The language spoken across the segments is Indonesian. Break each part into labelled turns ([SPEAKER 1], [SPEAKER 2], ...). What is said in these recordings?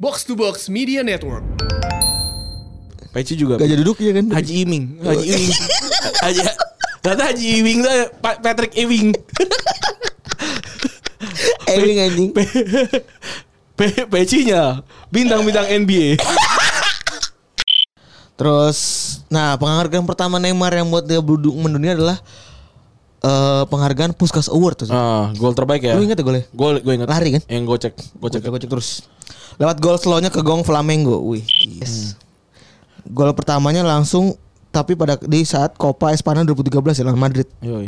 [SPEAKER 1] Box to Box Media Network.
[SPEAKER 2] Peci juga.
[SPEAKER 3] Gajah duduk iya kan?
[SPEAKER 2] Haji Iming. Haji Iming. Haji Ternyata Haji Iming tuh Pa- Patrick Ewing.
[SPEAKER 3] Ewing anjing.
[SPEAKER 2] Pe- Pecinya bintang-bintang NBA.
[SPEAKER 3] Terus, nah penghargaan pertama Neymar yang buat dia duduk mendunia adalah eh, penghargaan Puskas Award tuh.
[SPEAKER 2] Ah, gol terbaik ya.
[SPEAKER 3] Lu inget ya golnya?
[SPEAKER 2] Gol gue inget.
[SPEAKER 3] Lari kan?
[SPEAKER 2] Yang gocek.
[SPEAKER 3] Gocek,
[SPEAKER 2] Gocek.
[SPEAKER 3] gocek terus. Lewat gol slownya ke gong Flamengo. Wih, yes. Gol pertamanya langsung tapi pada di saat Copa Espanyol 2013 ya lawan Madrid.
[SPEAKER 2] Yoi.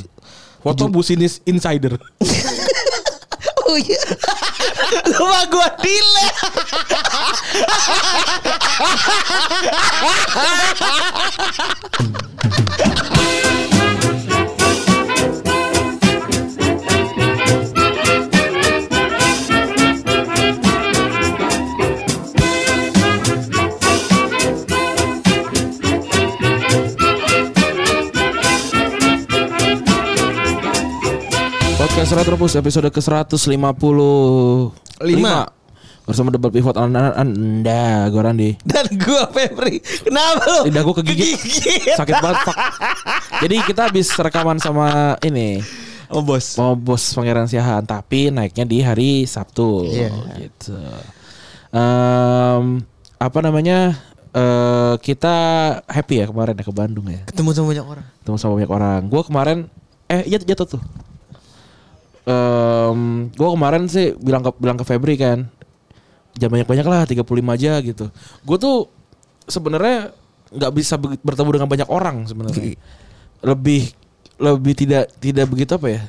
[SPEAKER 2] Foto Businis Insider.
[SPEAKER 3] Oh iya. Lupa gua delete.
[SPEAKER 2] Podcast Retropus episode ke-155
[SPEAKER 3] Lima.
[SPEAKER 2] Bersama Double Pivot Anda, anda gue Randi
[SPEAKER 3] Dan gua Febri. Kenapa lu?
[SPEAKER 2] Lidah gue kegigit
[SPEAKER 3] Kegigit.
[SPEAKER 2] Sakit banget fuck. Jadi kita habis rekaman sama ini
[SPEAKER 3] Oh bos.
[SPEAKER 2] Mau bos pangeran siahan Tapi naiknya di hari Sabtu
[SPEAKER 3] Iya.
[SPEAKER 2] gitu. Em, Apa namanya eh, Kita happy ya kemarin ya ke Bandung ya
[SPEAKER 3] Ketemu sama banyak orang.
[SPEAKER 2] ketemu sama banyak orang. Gue kemarin eh iya jatuh tuh. Em gue kemarin sih bilang ke bilang ke Febri kan, jangan banyak banyak lah 35 aja gitu. Gue tuh sebenarnya nggak bisa be- bertemu dengan banyak orang sebenarnya. Lebih lebih tidak tidak begitu apa ya?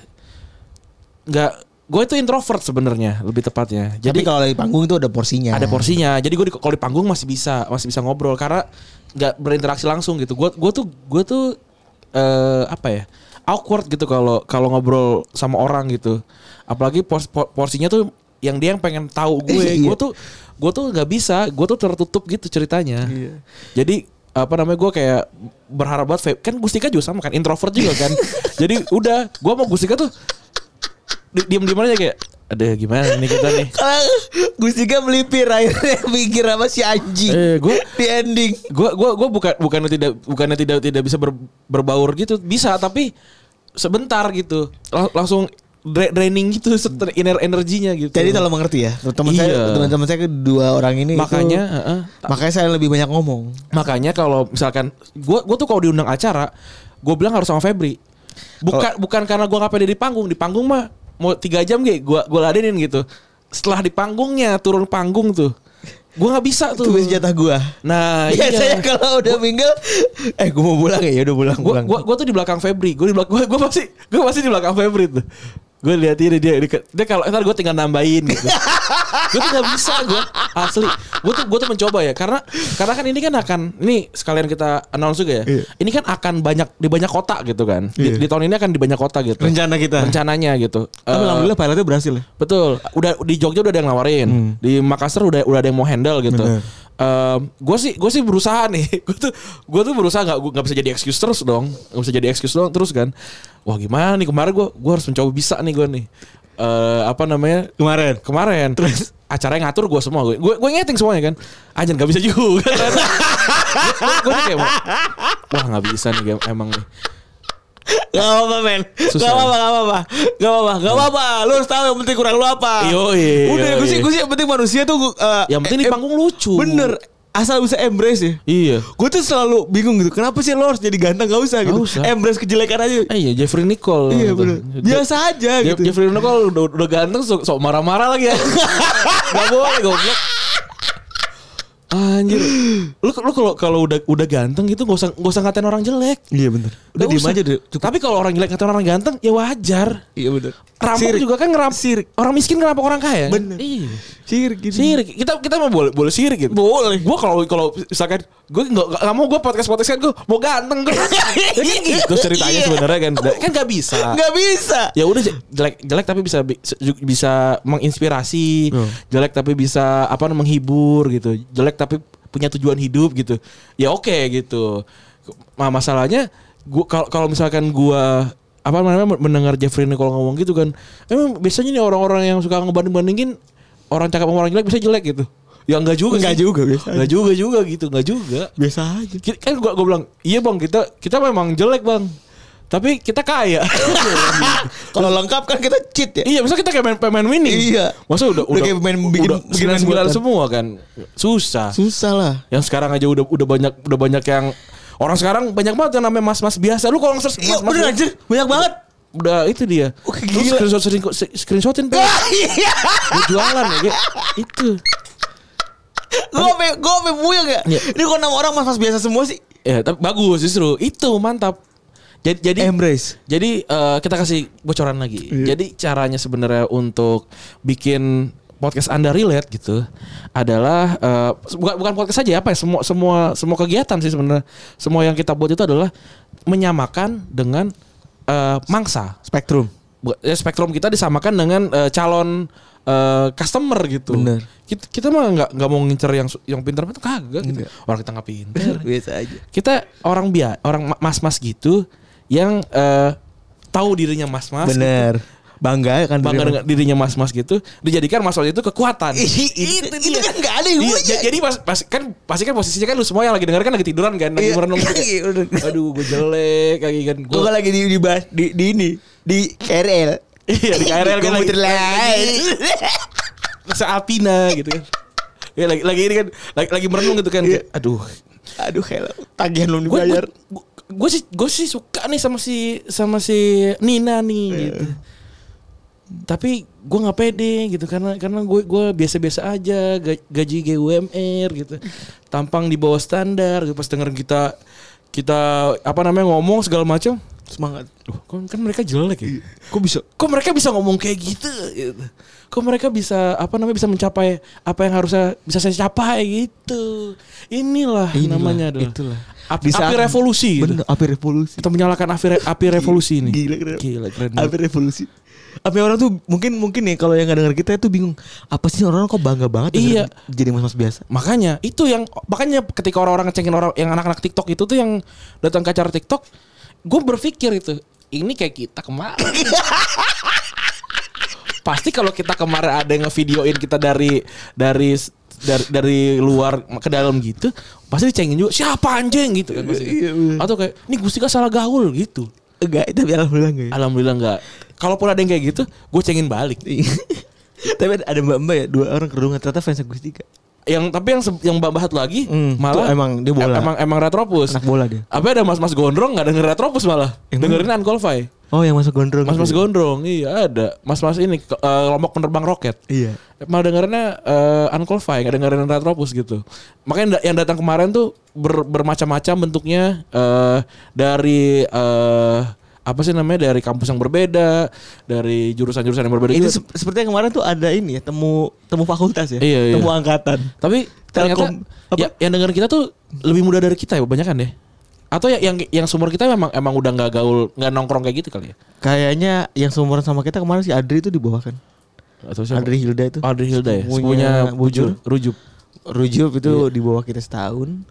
[SPEAKER 2] Nggak gue itu introvert sebenarnya lebih tepatnya.
[SPEAKER 3] Jadi kalau lagi panggung itu ada porsinya.
[SPEAKER 2] Ada porsinya. Jadi gue di, kalau di panggung masih bisa, masih bisa ngobrol karena nggak berinteraksi langsung gitu. Gue gue tuh gue tuh eh apa ya? awkward gitu kalau kalau ngobrol sama orang gitu. Apalagi pors- por- porsinya tuh yang dia yang pengen tahu gue.
[SPEAKER 3] Iya.
[SPEAKER 2] Gue tuh gue tuh nggak bisa, gue tuh tertutup gitu ceritanya.
[SPEAKER 3] Iya.
[SPEAKER 2] Jadi apa namanya gue kayak berharap banget Fe- kan Gustika juga sama kan introvert juga kan. Jadi udah gue mau Gustika tuh di- diem-diem aja kayak ada gimana nih kita nih.
[SPEAKER 3] Kalau Gustika melipir akhirnya mikir apa si anjing
[SPEAKER 2] Eh gue
[SPEAKER 3] di ending.
[SPEAKER 2] gue gua gua bukan bukannya tidak bukannya tidak tidak bisa ber- berbaur gitu bisa tapi sebentar gitu Lang- langsung dra- draining gitu seter- ener energinya gitu
[SPEAKER 3] Jadi gitu. tolong mengerti ya. Teman
[SPEAKER 2] Iya.
[SPEAKER 3] saya, teman-teman saya kedua orang ini itu-
[SPEAKER 2] makanya heeh. Ta-
[SPEAKER 3] makanya saya lebih banyak ngomong.
[SPEAKER 2] makanya kalau misalkan gue gua tuh kalau diundang acara gue bilang harus sama Febri bukan bukan karena gue nggak pede di panggung di panggung mah mau tiga jam kayak gue gue ladenin gitu setelah di panggungnya turun panggung tuh gue nggak bisa tuh
[SPEAKER 3] Itu Iya, biasa jatah gua.
[SPEAKER 2] nah
[SPEAKER 3] Biasanya kalau udah minggal, eh gua mau pulang ya, ya udah pulang,
[SPEAKER 2] gua
[SPEAKER 3] pulang.
[SPEAKER 2] gua gua tuh di belakang Febri gua di belakang gua, gua masih gua masih di belakang Febri tuh gue lihat dia dia, dia, dia kalau ntar gue tinggal nambahin gitu gue tuh nggak bisa gue asli gue tuh gue tuh mencoba ya karena karena kan ini kan akan ini sekalian kita announce juga ya
[SPEAKER 3] Iya.
[SPEAKER 2] ini kan akan banyak di banyak kota gitu kan di,
[SPEAKER 3] Iya.
[SPEAKER 2] di tahun ini akan di banyak kota gitu
[SPEAKER 3] Rencana kita.
[SPEAKER 2] rencananya gitu
[SPEAKER 3] Tapi
[SPEAKER 2] Eh,
[SPEAKER 3] alhamdulillah pilotnya berhasil ya.
[SPEAKER 2] Betul. Udah di Jogja udah ada yang nawarin. Di Makassar udah udah ada yang mau handle gitu.
[SPEAKER 3] Hmm. Bener.
[SPEAKER 2] gue sih gue sih berusaha nih. Gue tuh gue tuh berusaha nggak gua nggak bisa jadi excuse terus dong. Nggak bisa jadi excuse dong terus kan. Wah gimana nih kemarin gue gue harus mencoba bisa nih gue nih. Eh, apa namanya
[SPEAKER 3] Kemarin.
[SPEAKER 2] kemarin terus acara yang ngatur gue semua gue gue gue ngeting semuanya kan anjir nggak bisa juga gue kayak wah nggak bisa nih em- emang nih
[SPEAKER 3] Gak apa-apa men Gak
[SPEAKER 2] Susah. Hmm.
[SPEAKER 3] apa-apa Gak apa-apa Gak apa-apa Gak apa-apa Lu harus tahu yang penting kurang lu apa
[SPEAKER 2] Yoi,
[SPEAKER 3] Ah. Udah
[SPEAKER 2] yoi.
[SPEAKER 3] gue sih Gue sih yang penting manusia tuh eh,
[SPEAKER 2] Yang penting di
[SPEAKER 3] em-
[SPEAKER 2] panggung lucu.
[SPEAKER 3] Bener Asal bisa embrace ya
[SPEAKER 2] iya
[SPEAKER 3] Gue tuh selalu bingung gitu Kenapa sih lo harus jadi ganteng Gak usah gitu
[SPEAKER 2] Gak usah.
[SPEAKER 3] Embrace kejelekan aja
[SPEAKER 2] eh, iya Jeffrey Nicole
[SPEAKER 3] Iya
[SPEAKER 2] gitu.
[SPEAKER 3] bener Biasa aja
[SPEAKER 2] Jeff-
[SPEAKER 3] gitu
[SPEAKER 2] Jeffrey Nicole udah, udah ganteng sok sok marah-marah lagi ya. Gak boleh goblok. Anjir. Lu lu kalau kalau udah udah ganteng gitu gak usah gak usah ngatain orang jelek.
[SPEAKER 3] Iya bener
[SPEAKER 2] Nggak
[SPEAKER 3] Udah diem
[SPEAKER 2] usah.
[SPEAKER 3] aja deh Cukup.
[SPEAKER 2] Tapi kalau orang jelek ngatain orang ganteng ya wajar.
[SPEAKER 3] Iya bener
[SPEAKER 2] Rampok
[SPEAKER 3] Sirik.
[SPEAKER 2] juga kan ngerampok. Orang miskin ngerampok orang kaya.
[SPEAKER 3] Bener.
[SPEAKER 2] Iya.
[SPEAKER 3] Sirik gitu
[SPEAKER 2] Sirik. Kita kita mau boleh boleh sirik gitu. Boleh. Gua kalau kalau misalkan gue nggak nggak- nggak mau gue podcast podcast kan gue mau ganteng gue. ya kan gitu ceritanya
[SPEAKER 3] Iya.
[SPEAKER 2] sebenarnya kan kan nggak bisa
[SPEAKER 3] Gak bisa
[SPEAKER 2] ya udah je- jelek jelek tapi bisa bi- se- ju- bisa menginspirasi jelek tapi bisa apa menghibur gitu jelek tapi punya tujuan hidup gitu ya oke gitu Ma- masalahnya gua kalau kalau misalkan gua apa namanya mendengar Jeffrey Nicole ngomong gitu kan emang biasanya nih orang-orang yang suka ngebanding-bandingin orang cakep sama orang jelek bisa jelek gitu Ya enggak juga
[SPEAKER 3] Enggak
[SPEAKER 2] sih.
[SPEAKER 3] juga, biasa
[SPEAKER 2] Enggak juga juga gitu, enggak juga.
[SPEAKER 3] Biasa aja.
[SPEAKER 2] Ki- Kan gua gua bilang, "Iya, Bang, kita kita memang jelek, Bang. Tapi kita kaya."
[SPEAKER 3] Kalau lengkap kan kita cheat ya.
[SPEAKER 2] iya, masa kita kayak main, pemain winning.
[SPEAKER 3] Iya.
[SPEAKER 2] Masa udah
[SPEAKER 3] Udah kayak main- bikin-
[SPEAKER 2] udah
[SPEAKER 3] bikin main
[SPEAKER 2] 99
[SPEAKER 3] buatan.
[SPEAKER 2] semua kan. Susah.
[SPEAKER 3] Susah lah.
[SPEAKER 2] Yang sekarang aja udah udah banyak udah banyak yang orang sekarang banyak banget yang namanya mas-mas biasa. Lu kalau nge-search
[SPEAKER 3] Iya
[SPEAKER 2] mas-mas
[SPEAKER 3] bener anjir Banyak banget
[SPEAKER 2] udah itu dia.
[SPEAKER 3] Oke,
[SPEAKER 2] Lu
[SPEAKER 3] gila.
[SPEAKER 2] screenshot screenshot- screenshotin Pak.
[SPEAKER 3] Iya
[SPEAKER 2] Lu jualan ya, kayak itu.
[SPEAKER 3] Gue sampe Gue sampe buyang ya
[SPEAKER 2] Iya.
[SPEAKER 3] Ini kok nama orang mas-mas biasa semua sih
[SPEAKER 2] Ya, tapi bagus justru. Itu mantap. Jadi jadi
[SPEAKER 3] Embrace
[SPEAKER 2] Jadi eh, kita kasih bocoran lagi. Jadi caranya sebenarnya untuk bikin podcast Anda relate gitu adalah eh, bukan bukan podcast saja apa ya semua semua semua kegiatan sih sebenarnya. Semua yang kita buat itu adalah menyamakan dengan eh, mangsa.
[SPEAKER 3] Spektrum
[SPEAKER 2] Bu- ya, Spektrum kita disamakan dengan eh, calon eh, customer gitu.
[SPEAKER 3] Bener.
[SPEAKER 2] Kita, kita mah nggak nggak mau ngincer yang su- yang pintar itu kagak gitu.
[SPEAKER 3] Enggak.
[SPEAKER 2] Orang kita nggak pintar
[SPEAKER 3] Biasa aja
[SPEAKER 2] kita orang bia orang ma- mas-mas gitu yang eh, tahu dirinya mas-mas gitu.
[SPEAKER 3] Bener Bangga ya kan
[SPEAKER 2] bangga dengan dirinya mas-mas gitu dijadikan mas-mas itu kekuatan
[SPEAKER 3] Ih, Itu, itu, kan gak ada yang
[SPEAKER 2] Iya,
[SPEAKER 3] punya
[SPEAKER 2] ja- jadi pas, pas- kan pasti kan posisinya kan lu semua yang lagi dengerin kan lagi tiduran kan lagi
[SPEAKER 3] Iya,
[SPEAKER 2] merenung gitu.
[SPEAKER 3] lagi merenung.
[SPEAKER 2] aduh gue jelek lagi kan gue
[SPEAKER 3] Gue lagi di, di, bahas- di, di ini Di KRL
[SPEAKER 2] Iya, di KRL
[SPEAKER 3] Gue
[SPEAKER 2] kan lagi-
[SPEAKER 3] muter lain
[SPEAKER 2] masa Alpina gitu kan ya lagi lagi ini kan lagi, lagi merenung gitu kan
[SPEAKER 3] Iya.
[SPEAKER 2] Kayak, aduh
[SPEAKER 3] Aduh hello Tagihan belum
[SPEAKER 2] gue
[SPEAKER 3] dibayar
[SPEAKER 2] gue sih gue sih suka nih sama si sama si Nina nih gitu tapi gue nggak pede gitu karena karena gue gue biasa-biasa aja ga- gaji GUMR gitu tampang di bawah standar gitu pas denger kita kita apa namanya ngomong segala macam
[SPEAKER 3] Semangat
[SPEAKER 2] Duh, kan, kan mereka jelek ya
[SPEAKER 3] Iya. Kok bisa
[SPEAKER 2] kok mereka bisa ngomong kayak gitu gitu. kok mereka bisa apa namanya bisa mencapai apa yang harusnya bisa saya capai gitu inilah,
[SPEAKER 3] Inilah,
[SPEAKER 2] namanya adalah
[SPEAKER 3] itulah.
[SPEAKER 2] api,
[SPEAKER 3] Di saat-
[SPEAKER 2] api revolusi gitu.
[SPEAKER 3] Bener api revolusi
[SPEAKER 2] kita menyalakan api re- api revolusi ini
[SPEAKER 3] Gila keren.
[SPEAKER 2] gila keren banget.
[SPEAKER 3] Apa revolusi? Apa orang tuh mungkin mungkin nih kalau yang nggak denger kita itu bingung apa sih orang-orang kok bangga banget
[SPEAKER 2] Iya.
[SPEAKER 3] denger jadi mas-mas biasa.
[SPEAKER 2] makanya itu yang makanya ketika orang-orang ngecengin orang yang anak-anak TikTok itu tuh yang datang ke acara TikTok gue berpikir itu ini kayak kita kemarin pasti kalau kita kemarin ada yang ngevideoin kita dari dari dari, dari luar ke dalam gitu pasti dicengin juga siapa anjing gitu kan pasti.
[SPEAKER 3] Iya, bener.
[SPEAKER 2] atau kayak ini Gustika salah gaul gitu
[SPEAKER 3] Enggak, tapi alhamdulillah enggak. Ya?
[SPEAKER 2] alhamdulillah enggak kalaupun ada yang kayak gitu gue cengin balik
[SPEAKER 3] Iya. tapi ada- ada mbak-mbak ya dua orang kerudungan ternyata fans Agus Dika.
[SPEAKER 2] yang tapi yang se- yang bahat lagi
[SPEAKER 3] Hmm,
[SPEAKER 2] malah
[SPEAKER 3] tuh emang dia
[SPEAKER 2] em-
[SPEAKER 3] bola.
[SPEAKER 2] emang emang retropus
[SPEAKER 3] Anak bola dia.
[SPEAKER 2] apa ada mas mas gondrong nggak denger retropus malah
[SPEAKER 3] Yang
[SPEAKER 2] dengerin unqualified
[SPEAKER 3] Oh yang masuk gondrong.
[SPEAKER 2] mas mas
[SPEAKER 3] gitu.
[SPEAKER 2] gondrong iya ada mas mas ini ke- eh, kelompok penerbang roket
[SPEAKER 3] Iya.
[SPEAKER 2] malah dengerinnya eh, unqualified nggak dengerin retropus gitu makanya da- yang datang kemarin tuh ber- bermacam-macam bentuknya eh, dari eh, apa sih namanya dari kampus yang berbeda dari jurusan-jurusan yang berbeda
[SPEAKER 3] Itu
[SPEAKER 2] juga.
[SPEAKER 3] se- seperti yang kemarin tuh ada ini ya temu temu fakultas ya.
[SPEAKER 2] Iya, iya.
[SPEAKER 3] temu angkatan.
[SPEAKER 2] Tapi ternyata
[SPEAKER 3] Telkom, apa?
[SPEAKER 2] ya, yang dengerin kita tuh lebih muda dari kita ya kebanyakan deh. Atau ya- yang yang sumber kita memang emang udah nggak gaul, nggak nongkrong kayak gitu kali ya.
[SPEAKER 3] Kayaknya yang seumuran sama kita kemarin si Adri itu dibawakan.
[SPEAKER 2] Atau siapa?
[SPEAKER 3] Adri Hilda itu.
[SPEAKER 2] Adri Hilda ya. Punya
[SPEAKER 3] Sepupunya Bujur. Iya.
[SPEAKER 2] Bujur, Rujuk.
[SPEAKER 3] Rujup itu di bawah kita setahun.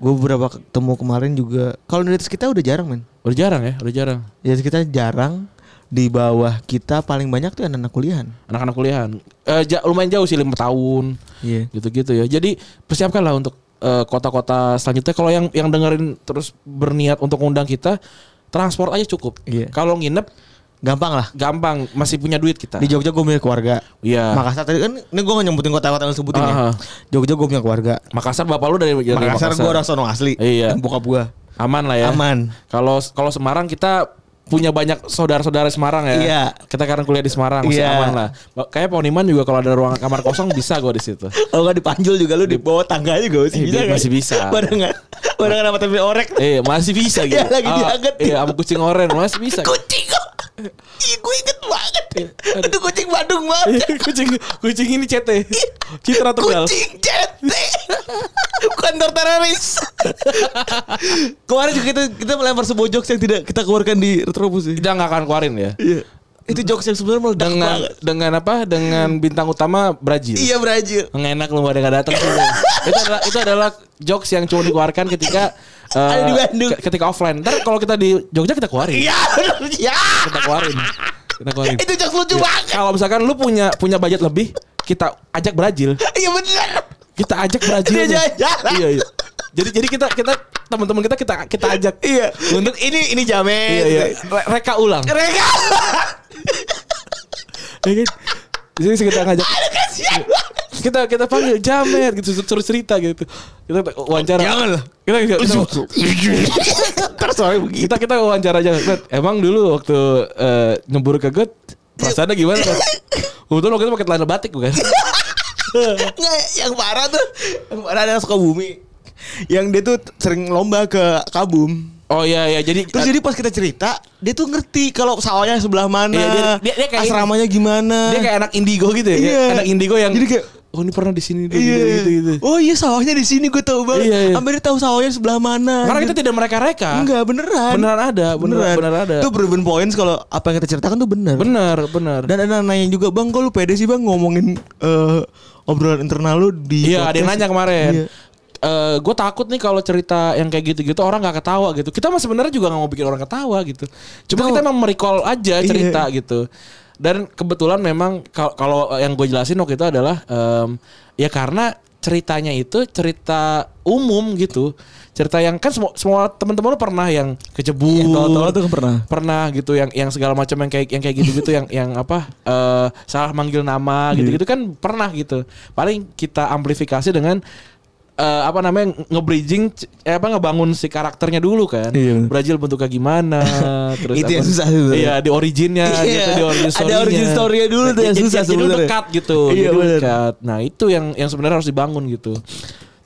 [SPEAKER 3] Gue beberapa ketemu kemarin juga. Kalau di atas kita udah jarang men.
[SPEAKER 2] Udah jarang ya, udah jarang.
[SPEAKER 3] Di atas kita jarang. Di bawah kita paling banyak tuh anak-anak kuliahan.
[SPEAKER 2] Anak-anak kuliahan. Eh, ja- lumayan jauh sih lima tahun.
[SPEAKER 3] Iya.
[SPEAKER 2] Gitu-gitu ya. Jadi persiapkanlah untuk eh, kota-kota selanjutnya. Kalau yang yang dengerin terus berniat untuk ngundang kita, transport aja cukup.
[SPEAKER 3] Iya.
[SPEAKER 2] Kalau nginep
[SPEAKER 3] Gampang lah.
[SPEAKER 2] gampang, masih punya duit kita.
[SPEAKER 3] Di Jogja gue punya keluarga.
[SPEAKER 2] Iya.
[SPEAKER 3] Makassar tadi kan ini gue gak nyebutin kota-kota yang sebutin ya.
[SPEAKER 2] Aha.
[SPEAKER 3] Jogja gue punya keluarga.
[SPEAKER 2] Makassar bapak lu dari, dari
[SPEAKER 3] Iya, Makassar, gue orang sono asli.
[SPEAKER 2] Iya.
[SPEAKER 3] Bokap gue.
[SPEAKER 2] Aman lah ya.
[SPEAKER 3] Aman.
[SPEAKER 2] Kalau kalau Semarang kita punya banyak saudara-saudara Semarang ya.
[SPEAKER 3] Iya.
[SPEAKER 2] Kita karena kuliah di Semarang masih
[SPEAKER 3] Iya.
[SPEAKER 2] aman lah. Kayak Poniman juga kalau ada ruang kamar kosong bisa gua di situ.
[SPEAKER 3] Kalau gak dipanjul juga lu di bawah tangga juga masih
[SPEAKER 2] Eh,
[SPEAKER 3] bisa kan?
[SPEAKER 2] masih bisa.
[SPEAKER 3] Barengan. Barengan sama tapi orek.
[SPEAKER 2] Eh masih bisa gitu.
[SPEAKER 3] Iya, lagi
[SPEAKER 2] Ah,
[SPEAKER 3] diangkat.
[SPEAKER 2] Iya sama kucing oren masih bisa.
[SPEAKER 3] Kucing kok. Ih gue inget banget. Itu kucing Bandung banget.
[SPEAKER 2] kucing kucing ini CT. Citra Tegal.
[SPEAKER 3] Kucing CT Kantor teroris Kemarin juga kita, kita melempar sebuah jokes yang tidak kita keluarkan di Retrobus ya.
[SPEAKER 2] Kita nggak akan keluarin ya.
[SPEAKER 3] Iya Itu jokes yang sebenarnya meledak
[SPEAKER 2] Dengan
[SPEAKER 3] banget
[SPEAKER 2] dengan apa? Dengan bintang utama Brazil.
[SPEAKER 3] Iya berajil
[SPEAKER 2] Nggak enak lu gak ada nggak datang semua. itu adalah itu adalah jokes yang cuma dikeluarkan ketika eh,
[SPEAKER 3] Ada di Bandung.
[SPEAKER 2] ke- ketika offline. Ntar kalau kita di Jogja kita keluarin.
[SPEAKER 3] Iya bener. Ya
[SPEAKER 2] Kita keluarin. Kita keluarin.
[SPEAKER 3] Itu jokes lucu
[SPEAKER 2] Iya.
[SPEAKER 3] banget
[SPEAKER 2] Kalau misalkan lu punya punya budget lebih, kita ajak Brazil.
[SPEAKER 3] Iya bener
[SPEAKER 2] kita ajak Brazil.
[SPEAKER 3] Dia
[SPEAKER 2] nih.
[SPEAKER 3] jalan.
[SPEAKER 2] Iya, iya. Jadi jadi kita kita teman-teman kita kita kita ajak.
[SPEAKER 3] Iya. Untuk ini ini jamet.
[SPEAKER 2] Iya, iya. Re- Reka ulang.
[SPEAKER 3] Mereka
[SPEAKER 2] Iya kan? Jadi kita ngajak
[SPEAKER 3] kasihan.
[SPEAKER 2] kita kita panggil jamet gitu suruh cerita gitu. Kita wawancara.
[SPEAKER 3] Jangan lah. gitu.
[SPEAKER 2] Kita kita, kita,
[SPEAKER 3] Terus soalnya begitu.
[SPEAKER 2] kita kita wawancara aja. Net, emang dulu waktu eh, nyembur ke God perasaannya gimana? Net? Untung waktu itu pakai celana batik bukan?
[SPEAKER 3] Nggak, yang parah tuh yang parah ada Sukabumi yang dia tuh sering lomba ke Kabum
[SPEAKER 2] Oh iya iya jadi
[SPEAKER 3] terus jadi pas kita cerita dia tuh ngerti kalau sawahnya sebelah mana
[SPEAKER 2] Iya, dia- dia- dia kayak-
[SPEAKER 3] asramanya gimana
[SPEAKER 2] dia kayak anak indigo gitu ya.
[SPEAKER 3] Iya.
[SPEAKER 2] Anak indigo yang
[SPEAKER 3] Jadi kayak-
[SPEAKER 2] oh ini pernah di sini dulu
[SPEAKER 3] iya
[SPEAKER 2] gitu gitu.
[SPEAKER 3] oh iya sawahnya di sini gue tahu banget
[SPEAKER 2] Iya, iya.
[SPEAKER 3] hampir dia tahu sawahnya sebelah mana gitu.
[SPEAKER 2] Karena kita tidak mereka-reka.
[SPEAKER 3] iya. enggak beneran
[SPEAKER 2] Beneran ada, beneran, beneran ada.
[SPEAKER 3] itu proven points kalau apa yang kita ceritakan tuh bener
[SPEAKER 2] Bener, bener.
[SPEAKER 3] dan ada yang nanya juga bang kok lu pede sih bang ngomongin eh, obrolan internal lu di
[SPEAKER 2] Iya, ada yang
[SPEAKER 3] podcast?"
[SPEAKER 2] nanya kemarin.
[SPEAKER 3] Iya.
[SPEAKER 2] Eh, gue takut nih kalau cerita yang kayak gitu-gitu orang nggak ketawa gitu. Kita mah sebenarnya juga nggak mau bikin orang ketawa gitu. Cuma kita emang merecall
[SPEAKER 3] Iya.
[SPEAKER 2] aja cerita gitu. Dan kebetulan memang kal- kalau yang gue jelasin waktu itu adalah em, ya karena ceritanya itu cerita umum gitu. Cerita yang kan semua, semua teman-teman lu pernah yang kecebur,
[SPEAKER 3] tahu-tahu tuh kan pernah.
[SPEAKER 2] pernah gitu yang yang segala macam yang kayak yang kayak gitu gitu yang yang apa eh salah manggil nama
[SPEAKER 3] Iya.
[SPEAKER 2] gitu gitu kan pernah gitu paling kita amplifikasi dengan eh, apa namanya nge- nge-bridging c- eh, apa ngebangun si karakternya dulu kan
[SPEAKER 3] Iya.
[SPEAKER 2] Brazil bentuknya gimana terus
[SPEAKER 3] Itu yang
[SPEAKER 2] apa-
[SPEAKER 3] susah tuh.
[SPEAKER 2] iya di originnya
[SPEAKER 3] Iya.
[SPEAKER 2] gitu di origin
[SPEAKER 3] Ada
[SPEAKER 2] story-nya. Iya,
[SPEAKER 3] origin story-nya dulu tuh yang
[SPEAKER 2] Jadi-
[SPEAKER 3] susah
[SPEAKER 2] jadi udah
[SPEAKER 3] sebenarnya.
[SPEAKER 2] dekat gitu
[SPEAKER 3] Iya,
[SPEAKER 2] jadi
[SPEAKER 3] bener.
[SPEAKER 2] dekat nah itu yang yang sebenarnya harus dibangun gitu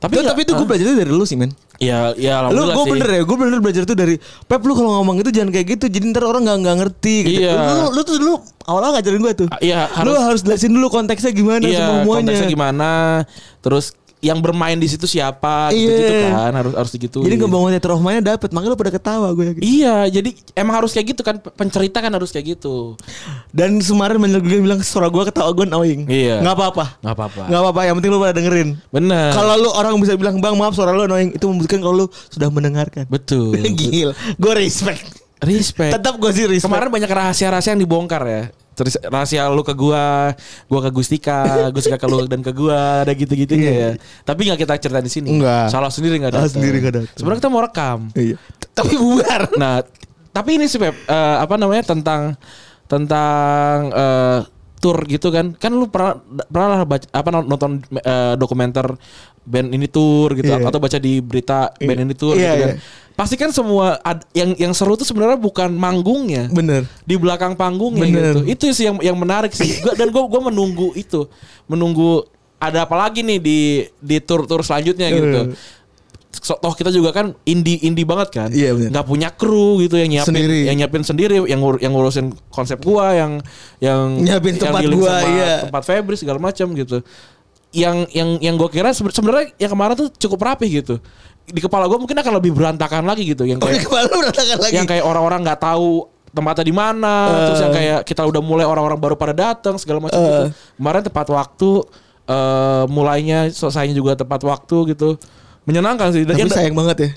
[SPEAKER 2] tapi
[SPEAKER 3] Tuh,
[SPEAKER 2] nggak-
[SPEAKER 3] tapi itu gue
[SPEAKER 2] ah,
[SPEAKER 3] belajar dari lu sih men
[SPEAKER 2] ya ya
[SPEAKER 3] lu
[SPEAKER 2] alhamdulillah
[SPEAKER 3] gue
[SPEAKER 2] sih.
[SPEAKER 3] bener ya gue bener belajar tuh dari Pep lu kalau ngomong itu jangan kayak gitu jadi ntar orang nggak nggak ngerti gitu.
[SPEAKER 2] Iya.
[SPEAKER 3] lu, lu tuh dulu awalnya ngajarin gue tuh
[SPEAKER 2] Ah, iya,
[SPEAKER 3] lu
[SPEAKER 2] harus-
[SPEAKER 3] harus jelasin dulu konteksnya gimana
[SPEAKER 2] Iya,
[SPEAKER 3] semuanya
[SPEAKER 2] konteksnya gimana, terus yang bermain di situ siapa,
[SPEAKER 3] Iya.
[SPEAKER 2] gitu-gitu kan, harus harus gitu.
[SPEAKER 3] jadi ngebangun teater of mind-nya dapet makanya lu pada ketawa gue yakin
[SPEAKER 2] Iya, jadi emang harus kayak gitu kan, pencerita kan harus kayak gitu.
[SPEAKER 3] dan kemarin banyak juga yang bilang suara gue ketawa gue annoying
[SPEAKER 2] Iya.
[SPEAKER 3] nggak apa-apa
[SPEAKER 2] Nggak apa-apa. Eh.
[SPEAKER 3] nggak apa-apa yang penting lu pada dengerin
[SPEAKER 2] Bener.
[SPEAKER 3] kalau lu orang bisa bilang bang maaf suara lu annoying itu membuktikan kalau lu sudah mendengarkan
[SPEAKER 2] betul.
[SPEAKER 3] gil gue respect
[SPEAKER 2] Respect.
[SPEAKER 3] tetap gue sih Gitu. respect
[SPEAKER 2] Kemarin banyak rahasia-rahasia yang dibongkar ya. Terus rahasia lu ke gua, gua ke Gustika, Gustika ke lu dan ke gua, ada gitu-gitunya ya. Tapi nggak kita cerita di sini.
[SPEAKER 3] Iya. Nggak.
[SPEAKER 2] Salah sendiri nggak
[SPEAKER 3] Salah
[SPEAKER 2] ada.
[SPEAKER 3] sendiri nggak datang.
[SPEAKER 2] Sebenarnya kita mau rekam.
[SPEAKER 3] Iya. tapi bubar
[SPEAKER 2] Nah, t- tapi ini sih Pep, eh, apa namanya tentang tentang eh, tour gitu kan? Kan lu pernah pernah lah baca, apa nonton eh, dokumenter band ini tour gitu
[SPEAKER 3] Iya.
[SPEAKER 2] atau baca di berita band ini tour
[SPEAKER 3] Iya,
[SPEAKER 2] gitu kan.
[SPEAKER 3] iya.
[SPEAKER 2] Pasti kan semua ad- yang yang seru tuh sebenarnya bukan manggungnya.
[SPEAKER 3] bener
[SPEAKER 2] di belakang panggungnya
[SPEAKER 3] Bener.
[SPEAKER 2] gitu. Itu sih yang yang menarik sih. Gua- dan gue gua menunggu itu, menunggu ada apa lagi nih di di tour-tour selanjutnya gitu.
[SPEAKER 3] Eh.
[SPEAKER 2] So, toh kita juga kan indie indie banget kan.
[SPEAKER 3] Iya, bener.
[SPEAKER 2] nggak punya kru gitu yang nyiapin
[SPEAKER 3] Sendiri.
[SPEAKER 2] yang nyiapin sendiri, yang ngur- yang ngurusin konsep gua, yang yang
[SPEAKER 3] Nyiapin
[SPEAKER 2] yang
[SPEAKER 3] tempat
[SPEAKER 2] dealing
[SPEAKER 3] gua,
[SPEAKER 2] sama
[SPEAKER 3] iya.
[SPEAKER 2] tempat Febri segala macam gitu. Yang yang yang gue kira sebe- sebenarnya yang kemarin tuh cukup rapih gitu. Di kepala gue mungkin akan lebih berantakan lagi gitu yang
[SPEAKER 3] Kok
[SPEAKER 2] kayak
[SPEAKER 3] di kepala lu berantakan lagi?
[SPEAKER 2] yang kayak orang-orang nggak tahu tempatnya di mana terus
[SPEAKER 3] Eh.
[SPEAKER 2] yang kayak kita udah mulai orang-orang baru pada datang segala macam gitu kemarin tepat waktu eh mulainya selesainya juga tepat waktu gitu menyenangkan sih dan
[SPEAKER 3] Tapi
[SPEAKER 2] yang-
[SPEAKER 3] sayang banget ya.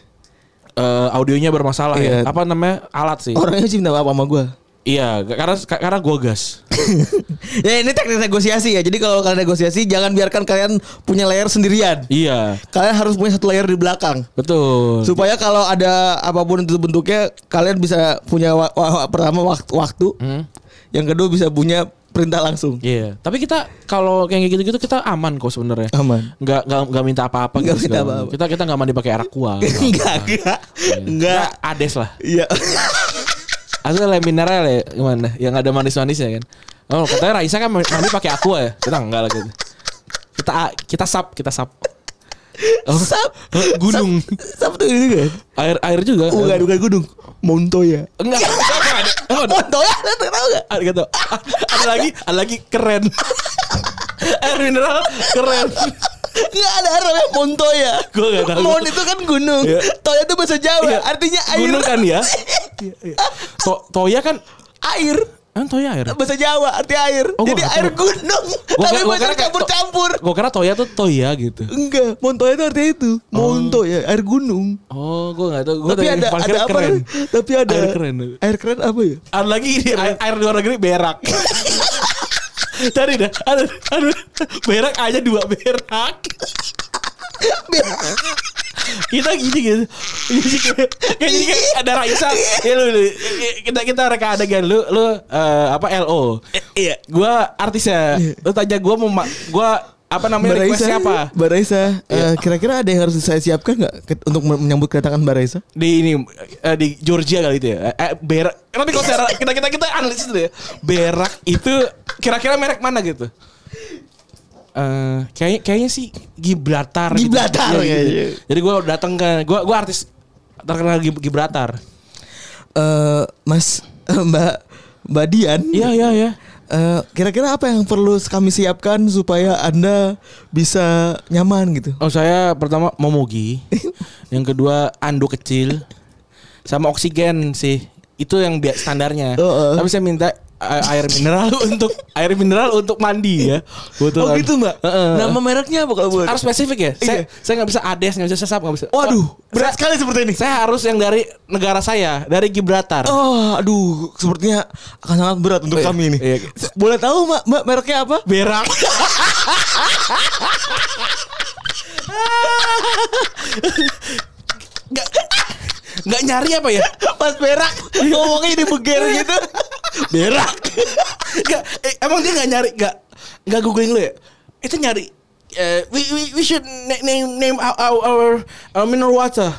[SPEAKER 2] eh, audionya bermasalah
[SPEAKER 3] Iya. Oh.
[SPEAKER 2] ya apa namanya alat sih
[SPEAKER 3] Orangnya sih minta maaf sama gue.
[SPEAKER 2] iya karena karena gua gas
[SPEAKER 3] ya ini teknik negosiasi ya. Jadi kalau kalian negosiasi jangan biarkan kalian punya layer sendirian.
[SPEAKER 2] iya
[SPEAKER 3] Kalian harus punya satu layer di belakang.
[SPEAKER 2] betul
[SPEAKER 3] Supaya kalau ada apapun itu bentuknya kalian bisa punya wa- wa- pertama waktu, waktu.
[SPEAKER 2] Hmm.
[SPEAKER 3] Yang kedua bisa punya perintah langsung.
[SPEAKER 2] Iya, tapi kita kalau kayak gitu-gitu kita aman kok sebenarnya.
[SPEAKER 3] Aman.
[SPEAKER 2] Nggak nggak nggak minta apa-apa. gitu
[SPEAKER 3] Nggak minta
[SPEAKER 2] segala macam.
[SPEAKER 3] apa-apa.
[SPEAKER 2] Kita kita nggak mandi pakai arak kuah.
[SPEAKER 3] Enggak, enggak. Enggak.
[SPEAKER 2] Ades lah.
[SPEAKER 3] Iya.
[SPEAKER 2] Atau le mineral ya gimana? Yang ada manis-manisnya kan. Oh, katanya Raisa kan mandi pakai aqua ya. Kita enggak lah gitu. Kita kita sap, kita sap. Oh,
[SPEAKER 3] Sap.
[SPEAKER 2] gunung.
[SPEAKER 3] Sap tuh ini kan.
[SPEAKER 2] Air air juga.
[SPEAKER 3] Bukan, bukan gunung. Montoya.
[SPEAKER 2] Enggak. ada, oh, ada,
[SPEAKER 3] Montoya, lu tau gak?
[SPEAKER 2] ada, gitu. Ah, ada lagi, ada lagi keren. air mineral keren.
[SPEAKER 3] Enggak ada air namanya Montoya.
[SPEAKER 2] Gua nggak tahu.
[SPEAKER 3] Mon itu kan gunung.
[SPEAKER 2] Iya.
[SPEAKER 3] Toya itu bahasa Jawa,
[SPEAKER 2] Iya.
[SPEAKER 3] artinya air. Iya,
[SPEAKER 2] Gunung kan ya. To toya kan
[SPEAKER 3] air.
[SPEAKER 2] kan toya air.
[SPEAKER 3] Bahasa Jawa artinya air.
[SPEAKER 2] Oh, gua
[SPEAKER 3] Jadi
[SPEAKER 2] nggak
[SPEAKER 3] air
[SPEAKER 2] tahu.
[SPEAKER 3] gunung.
[SPEAKER 2] Gua
[SPEAKER 3] Tapi
[SPEAKER 2] kira- gua kira
[SPEAKER 3] bahasa
[SPEAKER 2] kayak to-
[SPEAKER 3] campur-campur.
[SPEAKER 2] Gua kira toya tuh toya gitu.
[SPEAKER 3] Enggak, Montoya itu artinya itu. Montoya, air gunung.
[SPEAKER 2] Oh, gua enggak tahu. Oh. Gua
[SPEAKER 3] Tapi
[SPEAKER 2] tadi
[SPEAKER 3] ada
[SPEAKER 2] paling
[SPEAKER 3] ada
[SPEAKER 2] kira
[SPEAKER 3] apa?
[SPEAKER 2] keren.
[SPEAKER 3] Tapi ada
[SPEAKER 2] Air keren.
[SPEAKER 3] Air keren apa ya?
[SPEAKER 2] Ada lagi ini air, air luar negeri berak. Tadi dah, ada, ada berak aja dua berak.
[SPEAKER 3] dia.
[SPEAKER 2] kita gini gitu Jadi kayak kayak jadi kayak ada Raisa ya lu, lu kita kita reka adegan lu lu eh, apa LO iya gua artisnya lu tanya gua mau ma- gua apa namanya request
[SPEAKER 3] Baraisa,
[SPEAKER 2] siapa
[SPEAKER 3] Baraisa, eh, kira-kira ada yang harus saya siapkan nggak ke- untuk me- menyambut kedatangan Baraisa?
[SPEAKER 2] di ini eh, di Georgia kali itu ya eh, berak tapi kalau saya- kita kita kita analisis dulu ya berak itu kira-kira merek mana gitu Eh, kayaknya kayaknya sih Gibraltar. gitu.
[SPEAKER 3] Gibraltar
[SPEAKER 2] Iya, gitu.
[SPEAKER 3] kayaknya.
[SPEAKER 2] Jadi gua datang ke gua gua artis terkenal Gib- Gibraltar.
[SPEAKER 3] Eh, mas, Mbak, Mbak Dian.
[SPEAKER 2] Iya iya iya.
[SPEAKER 3] Eh, kira-kira apa yang perlu kami siapkan supaya anda bisa nyaman gitu?
[SPEAKER 2] Oh saya pertama momogi, yang kedua anduk kecil, sama oksigen sih itu yang biasa standarnya.
[SPEAKER 3] Oh, oh.
[SPEAKER 2] Tapi saya minta eh, air mineral untuk air mineral untuk mandi ya. Kebetulan. Heeh.
[SPEAKER 3] mereknya apa kalau
[SPEAKER 2] harus spesifik ya. Saya
[SPEAKER 3] Oh, gitu. Iya.
[SPEAKER 2] saya nggak bisa ades, nggak bisa sesap, nggak bisa.
[SPEAKER 3] Waduh,
[SPEAKER 2] berat
[SPEAKER 3] berat sekali seperti ini.
[SPEAKER 2] Saya harus yang dari negara saya, dari Gibraltar.
[SPEAKER 3] Oh, aduh, sepertinya akan sangat berat untuk
[SPEAKER 2] Iya,
[SPEAKER 3] kami ini.
[SPEAKER 2] iya.
[SPEAKER 3] Boleh tahu mbak, mbak mereknya apa?
[SPEAKER 2] Berak. Nggak nggak nyari apa ya?
[SPEAKER 3] Pas berak, ngomongnya jadi beger gitu.
[SPEAKER 2] berak Nggak, eh, emang dia nggak nyari nggak nggak googling lu ya itu nyari eh, we, we we should na- name name our our, our- our mineral water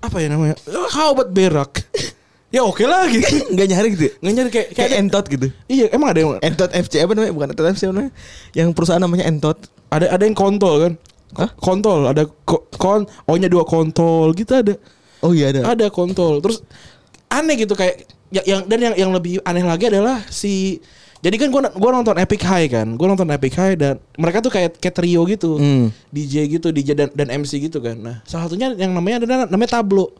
[SPEAKER 2] apa ya namanya how about berak ya oke lah gitu
[SPEAKER 3] Nggak nyari gitu. ya?
[SPEAKER 2] nggak nyari kayak kayak
[SPEAKER 3] Kayak
[SPEAKER 2] ada-
[SPEAKER 3] entot gitu.
[SPEAKER 2] iya emang ada yang
[SPEAKER 3] Entot FC apa namanya? Bukan Entot FC apa namanya? Yang perusahaan namanya Entot.
[SPEAKER 2] ada ada yang kontol kan
[SPEAKER 3] Hah?
[SPEAKER 2] kontol ada ko- kon oh nya dua kontol gitu ada
[SPEAKER 3] Oh iya ada.
[SPEAKER 2] ada kontol terus aneh gitu kayak ya- yang dan yang yang lebih aneh lagi adalah si jadi kan gua gua nonton Epic High kan gua nonton Epic High dan mereka tuh kayak kayak trio gitu
[SPEAKER 3] Hmm.
[SPEAKER 2] DJ gitu DJ dan, dan MC gitu kan nah salah satunya yang namanya ada namanya tablo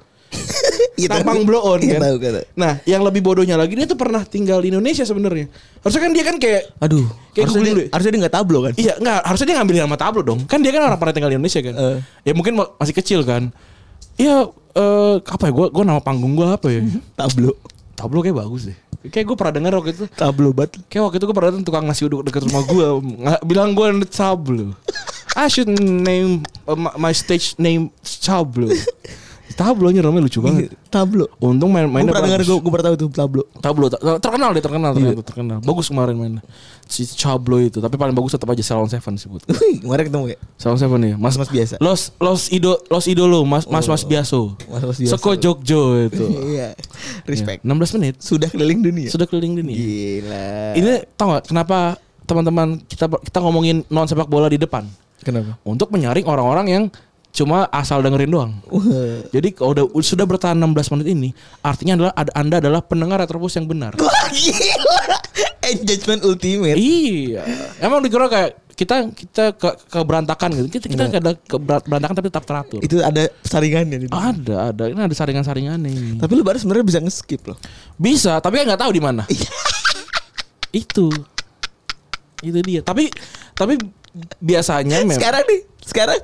[SPEAKER 2] tampang blow on kan
[SPEAKER 3] Iya, tahu, tahu.
[SPEAKER 2] nah yang lebih bodohnya lagi dia tuh pernah tinggal di Indonesia sebenarnya harusnya kan dia kan kayak
[SPEAKER 3] Aduh,
[SPEAKER 2] Kayak
[SPEAKER 3] harusnya
[SPEAKER 2] googling
[SPEAKER 3] dia,
[SPEAKER 2] dulu ya?
[SPEAKER 3] harusnya dia nggak tablo kan?
[SPEAKER 2] Iya, enggak, harusnya dia ngambil nama tablo dong. Kan dia kan orang pernah tinggal di Indonesia kan.
[SPEAKER 3] Eh.
[SPEAKER 2] Ya mungkin ma- masih kecil kan. Iya, eh apa ya gua gua nama panggung gua apa ya?
[SPEAKER 3] Mhm. Tablo,
[SPEAKER 2] tablo kayak bagus deh. Kayak gua pernah denger waktu itu.
[SPEAKER 3] tablo banget.
[SPEAKER 2] Kayak waktu itu gua pernah datang tukang nasi uduk dekat rumah gua nga- bilang gua n- tablo. I should name uh, my, my stage name tablo. Tablonya namanya lucu banget.
[SPEAKER 3] Tablo.
[SPEAKER 2] Untung main
[SPEAKER 3] Gue
[SPEAKER 2] mainnya
[SPEAKER 3] Iya. pernah Iya. dengar
[SPEAKER 2] bagus.
[SPEAKER 3] gue pernah tahu itu tablo.
[SPEAKER 2] Tablo ta- terkenal dia terkenal ternyata terkenal. Bagus kemarin mainnya. Si Tablo itu, tapi paling bagus tetap aja Salon Seven sih buat.
[SPEAKER 3] Kemarin ketemu ya?
[SPEAKER 2] Sama siapa nih? Mas
[SPEAKER 3] Mas biasa.
[SPEAKER 2] Los Los Ido Los Idolo Mas Mas Mas Biaso.
[SPEAKER 3] Mas- Mas Biaso.
[SPEAKER 2] Seko Jogjo itu.
[SPEAKER 3] Iya. Respect. Iya.
[SPEAKER 2] 16 menit
[SPEAKER 3] Sudah keliling dunia.
[SPEAKER 2] sudah keliling dunia.
[SPEAKER 3] Gila.
[SPEAKER 2] Ini tau gak kenapa teman-teman kita kita ngomongin non sepak bola di depan
[SPEAKER 3] kenapa?
[SPEAKER 2] untuk menyaring orang-orang yang cuma asal dengerin doang.
[SPEAKER 3] Wah.
[SPEAKER 2] Jadi kalau udah sudah bertahan 16 menit ini artinya adalah ada- Anda adalah pendengar Retropus yang benar.
[SPEAKER 3] Wah, Gila. Engagement ultimate.
[SPEAKER 2] Iya. Emang dikira kayak kita kita ke, keberantakan gitu. Kita kita ada keberantakan tapi tetap teratur.
[SPEAKER 3] Itu ada saringannya. Gitu.
[SPEAKER 2] Ada, ada. Ini ada saringan-saringannya ini.
[SPEAKER 3] Tapi lu baru sebenarnya bisa nge-skip loh.
[SPEAKER 2] Bisa, tapi kan nggak tahu di mana. itu. Itu dia. Tapi tapi biasanya Ya, memang
[SPEAKER 3] Sekarang nih, sekarang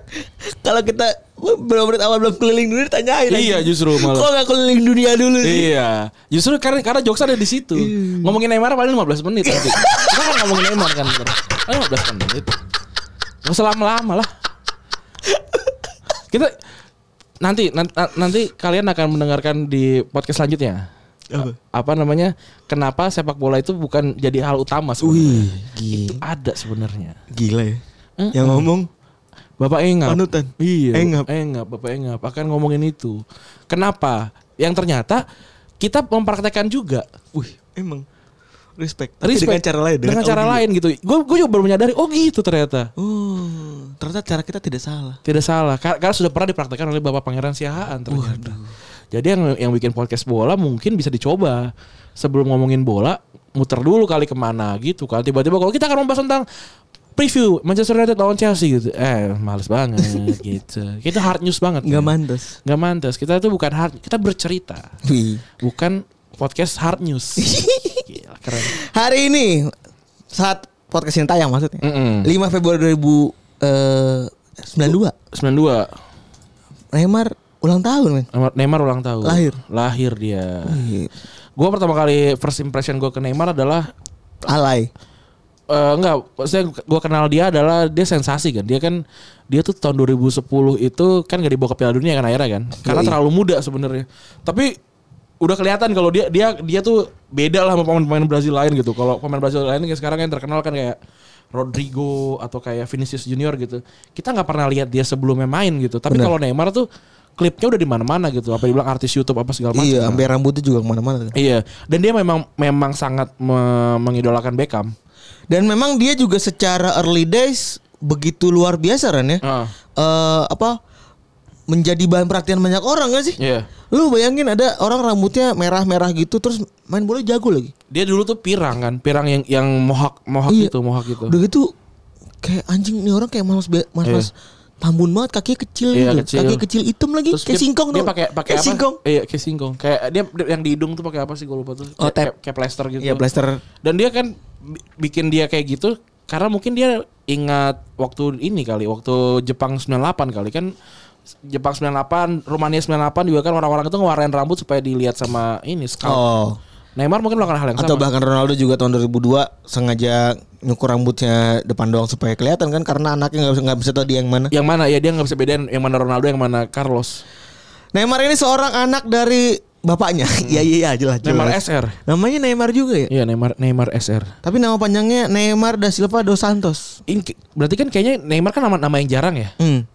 [SPEAKER 3] kalau kita belum menit awal belum keliling dunia ditanyain.
[SPEAKER 2] Iya,
[SPEAKER 3] lagi.
[SPEAKER 2] justru malah.
[SPEAKER 3] Kok nggak keliling dunia dulu sih?
[SPEAKER 2] Iya, justru karena karena jokes ada di situ. Ngomongin Neymar paling 15 menit nanti. Kita kan ngomongin Neymar kan bentar. Paling 15 menit. Gak usah lama-lama lah. Kita nanti nan- nan- nanti kalian akan mendengarkan di podcast selanjutnya.
[SPEAKER 3] Apa?
[SPEAKER 2] Apa namanya? Kenapa sepak bola itu bukan jadi hal utama
[SPEAKER 3] Wih,
[SPEAKER 2] sebenarnya? Itu
[SPEAKER 3] gila,
[SPEAKER 2] ada sebenarnya.
[SPEAKER 3] gila ya.
[SPEAKER 2] Mm-mm.
[SPEAKER 3] Yang ngomong
[SPEAKER 2] Bapak Engap.
[SPEAKER 3] Panutan.
[SPEAKER 2] Iya.
[SPEAKER 3] Engap.
[SPEAKER 2] Engap. Bapak Engap akan ngomongin itu. Kenapa? Yang ternyata kita mempraktekkan juga. Wih,
[SPEAKER 3] emang respect. Tapi
[SPEAKER 2] respect.
[SPEAKER 3] dengan cara lain. ya? iya.
[SPEAKER 2] Dengan, cara lain gitu. Gue gue juga baru menyadari oh gitu ternyata.
[SPEAKER 3] Oh, ternyata cara kita tidak salah.
[SPEAKER 2] Tidak salah. Kar- Karena sudah pernah dipraktekkan oleh Bapak Pangeran Siahaan ternyata. Jadi yang yang bikin podcast bola mungkin bisa dicoba sebelum ngomongin bola muter dulu kali kemana gitu kan tiba-tiba kalau kita akan membahas tentang preview Manchester United lawan Chelsea gitu eh males banget gitu kita hard news banget
[SPEAKER 3] Nggak
[SPEAKER 2] kan.
[SPEAKER 3] mantas.
[SPEAKER 2] Gak mantas. Kita tuh bukan hard, kita bercerita,
[SPEAKER 3] Wih.
[SPEAKER 2] bukan podcast hard news. Gila, keren.
[SPEAKER 3] Hari ini saat podcast ini tayang maksudnya.
[SPEAKER 2] Mm-mm.
[SPEAKER 3] 5 Februari eh, 2092.
[SPEAKER 2] 92
[SPEAKER 3] Neymar ulang tahun, men.
[SPEAKER 2] Neymar- Neymar ulang tahun.
[SPEAKER 3] Lahir.
[SPEAKER 2] Lahir dia. Gua pertama kali first impression gua ke Neymar adalah
[SPEAKER 3] Alay.
[SPEAKER 2] eh eh, enggak, maksudnya gue kenal dia adalah dia sensasi kan. Dia kan dia tuh tahun 2010 itu kan gak dibawa ke Piala Dunia kan akhirnya kan. Karena
[SPEAKER 3] Yoi.
[SPEAKER 2] terlalu muda sebenarnya. Tapi udah kelihatan kalau dia dia dia tuh beda lah sama pemain-pemain Brazil lain gitu. Kalau pemain Brazil lain kayak sekarang yang terkenal kan kayak Rodrigo atau kayak Vinicius Junior gitu. Kita nggak pernah lihat dia sebelumnya main gitu. Tapi
[SPEAKER 3] Benar.
[SPEAKER 2] kalau Neymar tuh klipnya udah di mana-mana gitu. Apa dibilang artis YouTube apa segala macam. kan.
[SPEAKER 3] Iya, sampai rambutnya juga kemana-mana.
[SPEAKER 2] Iya, dan dia memang memang sangat me- mengidolakan Beckham.
[SPEAKER 3] Dan memang dia juga secara early days begitu luar biasa Ran ya.
[SPEAKER 2] Ah.
[SPEAKER 3] Eh, apa menjadi bahan perhatian banyak orang gak sih?
[SPEAKER 2] Iya.
[SPEAKER 3] Lu bayangin ada orang rambutnya merah-merah gitu terus main bola jago lagi.
[SPEAKER 2] Dia dulu tuh pirang kan, pirang yang yang mohak mohak
[SPEAKER 3] Iya.
[SPEAKER 2] gitu, mohak gitu.
[SPEAKER 3] Udah gitu kayak anjing nih orang kayak mas mas mas tambun banget kakinya kecil
[SPEAKER 2] Iya,
[SPEAKER 3] gitu.
[SPEAKER 2] kecil.
[SPEAKER 3] Kaki kecil hitam lagi kayak
[SPEAKER 2] dia-
[SPEAKER 3] singkong
[SPEAKER 2] dia
[SPEAKER 3] tau.
[SPEAKER 2] pakai pakai
[SPEAKER 3] kayak
[SPEAKER 2] apa?
[SPEAKER 3] singkong.
[SPEAKER 2] Iya, kayak singkong. Kayak dia dia- yang di hidung tuh pakai apa sih gue lupa tuh.
[SPEAKER 3] Oh,
[SPEAKER 2] Kayak-
[SPEAKER 3] tap.
[SPEAKER 2] kayak, kayak plaster gitu.
[SPEAKER 3] Iya, blaster.
[SPEAKER 2] Dan dia kan bi- bikin dia kayak gitu karena mungkin dia ingat waktu ini kali, waktu Jepang 98 kali kan Jepang 98, Rumania 98 juga kan orang-orang itu ngewarnain rambut supaya dilihat sama ini scout.
[SPEAKER 3] Oh.
[SPEAKER 2] Neymar mungkin melakukan hal yang
[SPEAKER 3] Atau
[SPEAKER 2] sama.
[SPEAKER 3] bahkan Ronaldo juga tahun 2002 sengaja nyukur rambutnya depan doang supaya kelihatan kan karena anaknya nggak bisa nggak bisa tahu dia yang mana.
[SPEAKER 2] Yang mana ya dia nggak bisa bedain yang mana Ronaldo yang mana Carlos.
[SPEAKER 3] Neymar ini seorang anak dari bapaknya. Iya iya iya jelas. jelas.
[SPEAKER 2] Hmm. Neymar SR.
[SPEAKER 3] Namanya Neymar juga
[SPEAKER 2] Iya
[SPEAKER 3] ya.
[SPEAKER 2] Neymar Neymar SR.
[SPEAKER 3] Tapi nama panjangnya Neymar da Silva dos Santos.
[SPEAKER 2] Ini ki- berarti kan kayaknya Neymar kan nama nama yang jarang ya.
[SPEAKER 3] Hmm,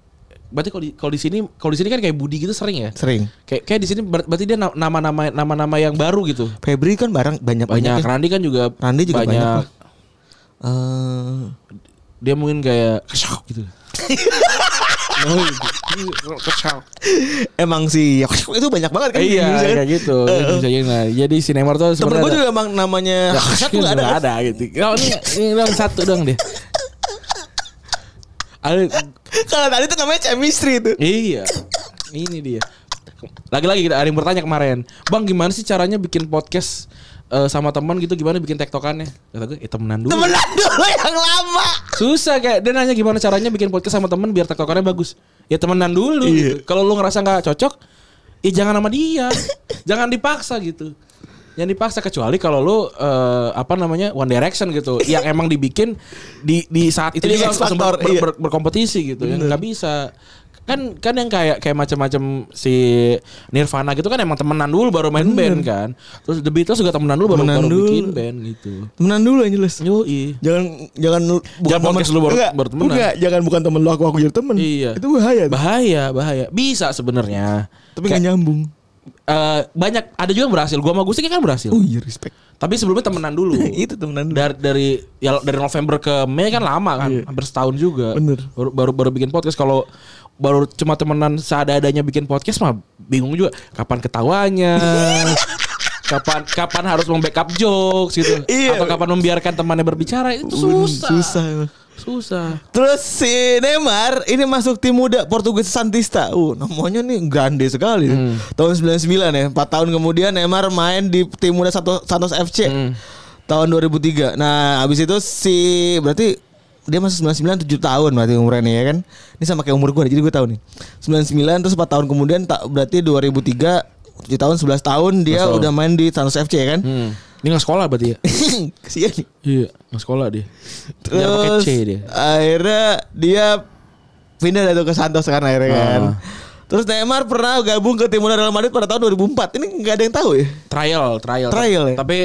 [SPEAKER 2] Berarti kalau di kalau di sini kalau di sini kan kayak Budi gitu sering ya.
[SPEAKER 3] sering.
[SPEAKER 2] Kayak kayak di sini ber- berarti dia na- nama-nama nama-nama yang baru gitu.
[SPEAKER 3] Febri kan barang banyak
[SPEAKER 2] Banyak
[SPEAKER 3] banyak.
[SPEAKER 2] Randi kan juga
[SPEAKER 3] Randi juga banyak
[SPEAKER 2] banyak.
[SPEAKER 3] lah. Eh,
[SPEAKER 2] Dia mungkin kayak kesal gitu. Oh, ini kesal.
[SPEAKER 3] emang sih ya, itu banyak banget kan.
[SPEAKER 2] Iya
[SPEAKER 3] Bisa kan?
[SPEAKER 2] kayak gitu. Bisa jadi, nah, jadi si Neymar tuh
[SPEAKER 3] Temen gue
[SPEAKER 2] sebenarnya Nah,
[SPEAKER 3] juga emang namanya satu
[SPEAKER 2] Ya, Nggak
[SPEAKER 3] nggak ada. kan?
[SPEAKER 2] ada gitu. Kalau ini ini doang satu doang dia. Ada
[SPEAKER 3] Kalau tadi tuh namanya chemistry itu.
[SPEAKER 2] Iya. Ini dia. Lagi-lagi ada yang bertanya kemarin, Bang gimana sih caranya bikin podcast eh, sama teman gitu? Gimana bikin tektokannya? Kata gue, eh temenan dulu.
[SPEAKER 3] Temenan dulu yang lama.
[SPEAKER 2] Susah kayak dia nanya gimana caranya bikin podcast sama teman biar tektokannya bagus. Ya temenan dulu.
[SPEAKER 3] Iya.
[SPEAKER 2] gitu. Kalau lu ngerasa nggak cocok, ya jangan sama dia. jangan dipaksa gitu. Yang dipaksa kecuali kalau lu eh, apa namanya One Direction gitu, yang emang dibikin di di saat itu
[SPEAKER 3] Ini
[SPEAKER 2] juga
[SPEAKER 3] X
[SPEAKER 2] langsung ber-
[SPEAKER 3] Factor,
[SPEAKER 2] ber-
[SPEAKER 3] iya.
[SPEAKER 2] ber- berkompetisi gitu yang nggak bisa kan kan yang kayak kayak macam-macam si Nirvana gitu kan emang temenan dulu baru main band kan terus The Beatles juga temenan dulu baru baru
[SPEAKER 3] Temenan dulu.
[SPEAKER 2] bikin band gitu
[SPEAKER 3] Temenan dulu yang jelas.
[SPEAKER 2] Yoi.
[SPEAKER 3] Jangan jangan lu- bukan temen-
[SPEAKER 2] podcast lu baru-
[SPEAKER 3] enggak,
[SPEAKER 2] baru temenan.
[SPEAKER 3] Enggak, jangan bukan temen lu aku aku jadi temen.
[SPEAKER 2] Iya.
[SPEAKER 3] Itu bahaya. tuh.
[SPEAKER 2] bahaya bahaya bisa sebenarnya
[SPEAKER 3] Tapi nggak nyambung.
[SPEAKER 2] Eh, banyak ada juga yang berhasil gua sama Gusti kan berhasil
[SPEAKER 3] Oh iya respect.
[SPEAKER 2] tapi sebelumnya temenan dulu
[SPEAKER 3] Itu temenan dulu.
[SPEAKER 2] dari dari ya dari November ke Mei kan lama kan hampir setahun juga
[SPEAKER 3] Iya. Bener.
[SPEAKER 2] baru baru, baru bikin podcast kalau baru cuma temenan seada-adanya bikin podcast mah bingung juga kapan ketawanya kapan kapan harus membackup jokes gitu
[SPEAKER 3] Iya.
[SPEAKER 2] atau kapan membiarkan temannya berbicara itu susah
[SPEAKER 3] Susah. emang.
[SPEAKER 2] susah
[SPEAKER 3] Terus si Neymar ini masuk tim muda Portugis Santista. Uh, namanya nih grande sekali. Tahun 99 ya, 4 tahun kemudian Neymar main di tim muda Santo- Santos FC. Tahun 2003. Nah, habis itu si berarti dia masuk 99 7 tahun berarti umurnya ya kan. Ini sama kayak umur gue jadi gue tahu nih. 99 terus 4 tahun kemudian tak berarti 2003 7 tahun 11 tahun
[SPEAKER 2] 11
[SPEAKER 3] dia
[SPEAKER 2] tahun.
[SPEAKER 3] udah main di Santos FC ya kan.
[SPEAKER 2] hmm. ini nggak sekolah berarti ya
[SPEAKER 3] Kesian nih.
[SPEAKER 2] iya nggak sekolah dia Nggak pakai
[SPEAKER 3] Terus
[SPEAKER 2] C dia
[SPEAKER 3] akhirnya dia pindah dari itu ke Santos kan akhirnya kan.
[SPEAKER 2] Ah.
[SPEAKER 3] Terus Neymar pernah gabung ke tim muda Real Madrid pada tahun 2004. Ini nggak ada yang tahu ya.
[SPEAKER 2] trial trial
[SPEAKER 3] Trial ya?
[SPEAKER 2] tapi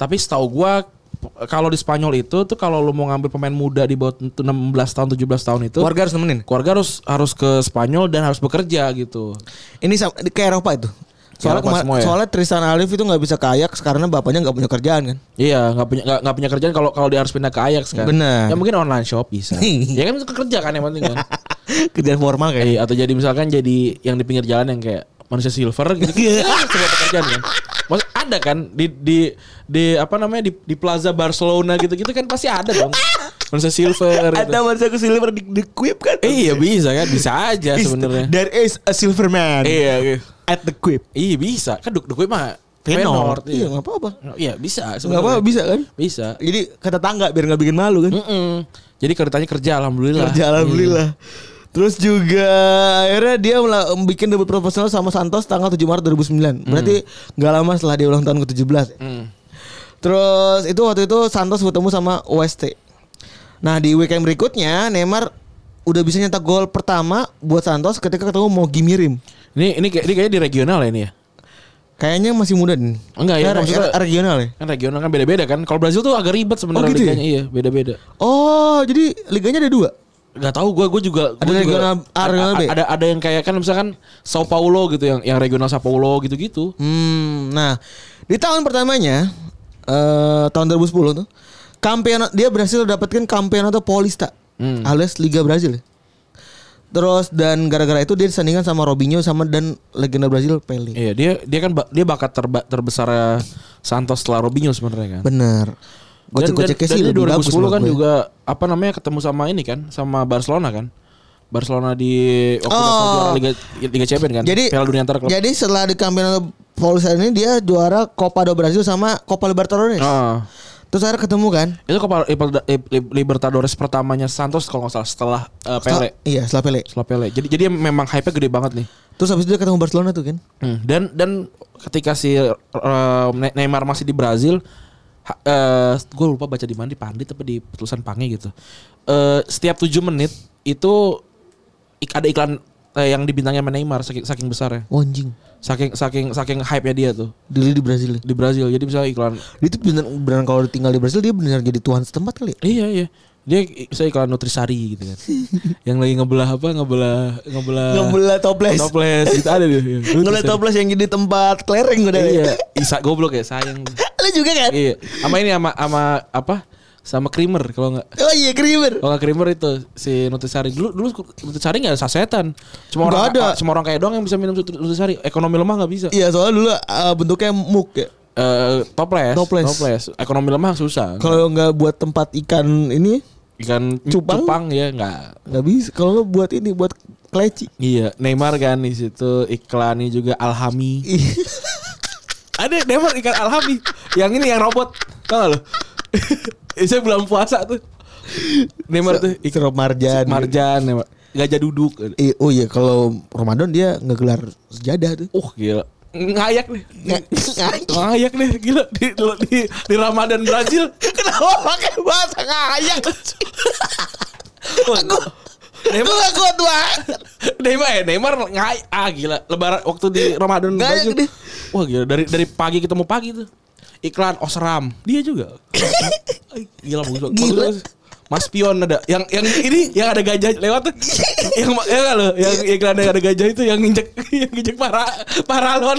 [SPEAKER 2] tapi setahu gua p- kalau di Spanyol itu tuh kalau lu mau ngambil pemain muda di bawah t- 16 tahun 17 tahun itu keluarga,
[SPEAKER 3] harus nemenin.
[SPEAKER 2] harus harus ke Spanyol dan harus bekerja gitu
[SPEAKER 3] Ini sama, di- ke Eropa itu. Soalnya,
[SPEAKER 2] Ke Eropa
[SPEAKER 3] kema-
[SPEAKER 2] semua ya?
[SPEAKER 3] soalnya Tristan Alif itu nggak bisa kayak karena bapaknya nggak punya kerjaan kan.
[SPEAKER 2] iya nggak punya nggak- nggak punya kerjaan kalau kalau dia harus pindah ke Ajax kan
[SPEAKER 3] Benar.
[SPEAKER 2] ya mungkin online shop bisa ya kan itu kerja kan yang penting kan
[SPEAKER 3] kerjaan formal kayak. gitu.
[SPEAKER 2] Eh, atau jadi misalkan jadi yang di pinggir jalan yang kayak manusia silver gitu
[SPEAKER 3] Iya.
[SPEAKER 2] Kan sebuah pekerjaan kan Maksud, ada kan di di di apa namanya di, di plaza Barcelona gitu gitu kan pasti ada dong manusia silver gitu.
[SPEAKER 3] Ada manusia ke silver di, di Quip kan?
[SPEAKER 2] Eh, iya bisa kan bisa aja
[SPEAKER 3] Is-
[SPEAKER 2] sebenarnya
[SPEAKER 3] There is a silver man
[SPEAKER 2] iya gitu.
[SPEAKER 3] at the Quip.
[SPEAKER 2] iya bisa kan duk duk mah
[SPEAKER 3] Tenor.
[SPEAKER 2] iya.
[SPEAKER 3] Iya nggak apa-apa.
[SPEAKER 2] iya bisa
[SPEAKER 3] Nggak apa-apa
[SPEAKER 2] sebenarnya
[SPEAKER 3] bisa kan?
[SPEAKER 2] bisa
[SPEAKER 3] Jadi kata tangga biar nggak bikin malu kan.
[SPEAKER 2] Mm-mm. jadi kalau ditanya kerja alhamdulillah
[SPEAKER 3] Kerja alhamdulillah. Terus juga akhirnya dia mela- bikin debut
[SPEAKER 2] Hmm.
[SPEAKER 3] profesional sama Santos tanggal 7 Maret 2009. Berarti nggak lama setelah dia ulang tahun ke-17.
[SPEAKER 2] Mm.
[SPEAKER 3] Terus itu waktu itu Santos bertemu sama UST. Nah di weekend berikutnya Neymar udah bisa nyetak gol pertama buat Santos ketika ketemu Mogi Mirim.
[SPEAKER 2] Ini ini kayak ini kayaknya di regional ya ini ya.
[SPEAKER 3] Kayaknya masih muda nih.
[SPEAKER 2] Enggak ya,
[SPEAKER 3] Nah, re-
[SPEAKER 2] maksudnya-
[SPEAKER 3] re- regional ya.
[SPEAKER 2] Kan regional kan beda-beda kan. Kalau Brazil tuh agak ribet sebenarnya
[SPEAKER 3] Oh, gitu ya?
[SPEAKER 2] liganya. Iya, beda-beda.
[SPEAKER 3] Oh jadi liganya ada dua.
[SPEAKER 2] Gak tahu gue, gue juga
[SPEAKER 3] Ada
[SPEAKER 2] gua juga-
[SPEAKER 3] regional A, regional B?
[SPEAKER 2] ada ada yang kayak kan misalkan Sao Paulo gitu yang yang regional Sao Paulo gitu-gitu.
[SPEAKER 3] Hmm, nah di tahun pertamanya eh tahun 2010 tuh Campeonato dia berhasil dapatkan Campeonato Paulista
[SPEAKER 2] Hmm.
[SPEAKER 3] alias Liga Brazil. Terus dan gara-gara itu dia disandingkan sama Robinho sama dan legenda Brazil Pele.
[SPEAKER 2] Iya, dia dia kan ba- dia bakat terba, terbesar Santos setelah Robinho sebenarnya kan.
[SPEAKER 3] Bener.
[SPEAKER 2] Dan-
[SPEAKER 3] Gocek-goceknya
[SPEAKER 2] dan-
[SPEAKER 3] sih
[SPEAKER 2] dan dia
[SPEAKER 3] lebih bagus
[SPEAKER 2] 2010
[SPEAKER 3] menurut
[SPEAKER 2] kan
[SPEAKER 3] gue.
[SPEAKER 2] juga apa namanya ketemu sama ini kan sama Barcelona kan. Barcelona di waktu
[SPEAKER 3] Oh.
[SPEAKER 2] Barcelona juara Liga Liga Champions kan.
[SPEAKER 3] Jadi
[SPEAKER 2] Piala Dunia antar klub.
[SPEAKER 3] Jadi setelah di Campeonato Paulista ini dia juara Copa do Brasil sama Copa Libertadores.
[SPEAKER 2] Ah.
[SPEAKER 3] Terus akhirnya ketemu kan?
[SPEAKER 2] Itu Copa Liberta- Lib- Libertadores pertamanya Santos kalau nggak salah setelah eh, Pele.
[SPEAKER 3] Setelah- Iya, setelah Pele.
[SPEAKER 2] Setelah Pele. Jadi jadi memang hype-nya gede banget nih.
[SPEAKER 3] Terus habis itu dia ketemu Barcelona tuh kan.
[SPEAKER 2] Hmm, Dan dan ketika si eh, Ne- Neymar masih di Brazil, gue lupa baca di mana di Pandit apa di tulisan Pange gitu. Eh, setiap 7 menit itu ik- ada iklan eh, yang dibintangin sama Neymar saking, saking besarnya.
[SPEAKER 3] Wonjing.
[SPEAKER 2] Saking saking saking hype-nya dia tuh
[SPEAKER 3] Dulu di Brasil.
[SPEAKER 2] di Brazil. Jadi misalnya iklan
[SPEAKER 3] Dia tuh bener beneran kalau tinggal di Brasil dia beneran jadi tuan setempat kali. ya?
[SPEAKER 2] Iya iya. Dia i- saya iklan Nutrisari gitu kan. yang lagi ngebelah apa? Ngebelah ngebelah
[SPEAKER 3] Ngebelah toples.
[SPEAKER 2] toples gitu ada dia. iya.
[SPEAKER 3] Ngebelah
[SPEAKER 2] Nutrisari.
[SPEAKER 3] toples yang jadi tempat kelereng udah.
[SPEAKER 2] Iya. Isa goblok ya sayang.
[SPEAKER 3] Lu juga kan?
[SPEAKER 2] iya. Sama ini sama sama apa? Sama creamer kalau nggak
[SPEAKER 3] Oh iya krimer.
[SPEAKER 2] kalau nggak creamer itu si Nutrisari dulu dulu Nutrisari nggak ada sasetan. Cuma
[SPEAKER 3] Nggak
[SPEAKER 2] orang
[SPEAKER 3] ada.
[SPEAKER 2] cuma orang kayak doang yang bisa minum Nut- Nutrisari. Ekonomi lemah nggak bisa.
[SPEAKER 3] Iya soalnya dulu uh, bentuknya muk ya.
[SPEAKER 2] Eh, toples,
[SPEAKER 3] Toples.
[SPEAKER 2] Ekonomi lemah susah.
[SPEAKER 3] Kalau nggak buat tempat ikan ini
[SPEAKER 2] Ikan
[SPEAKER 3] Cupang?
[SPEAKER 2] cupang, ya nggak
[SPEAKER 3] nggak bisa. Kalau nggak buat ini buat keleci.
[SPEAKER 2] Iya, Neymar kan di situ iklannya juga Alhami.
[SPEAKER 3] Iya.
[SPEAKER 2] Ada Neymar iklan Alhami. Yang ini yang robot. Tahu nggak lo? Saya bulan puasa tuh. Neymar tuh ik-
[SPEAKER 3] Sirup Iya. marjan.
[SPEAKER 2] Marjan Neymar. Gajah duduk.
[SPEAKER 3] Eh, oh iya kalau Ramadan dia ngegelar sejadah tuh.
[SPEAKER 2] Uh, gila. Ngayak nih.
[SPEAKER 3] Iya. Ngayak.
[SPEAKER 2] Ngayak nih, gila di di, di Ramadan Brazil.
[SPEAKER 3] Kenapa pakai bahasa ngayak? Aku Aku gak kuat banget.
[SPEAKER 2] Neymar ya, Neymar ngayak. Ah, gila. Lebaran waktu di Ramadan
[SPEAKER 3] Ngayak
[SPEAKER 2] Brazil.
[SPEAKER 3] dia.
[SPEAKER 2] Wah, gila dari dari pagi ketemu pagi tuh. Iklan Osram. Dia juga. Gila bagus banget.
[SPEAKER 3] Gila.
[SPEAKER 2] Bagus, bagus. Mas Pion ada yang yang ini yang ada gajah lewat tuh. yang ya nggak lo, yang
[SPEAKER 3] Iya.
[SPEAKER 2] iklan yang ada gajah itu yang injek yang injek para paralon.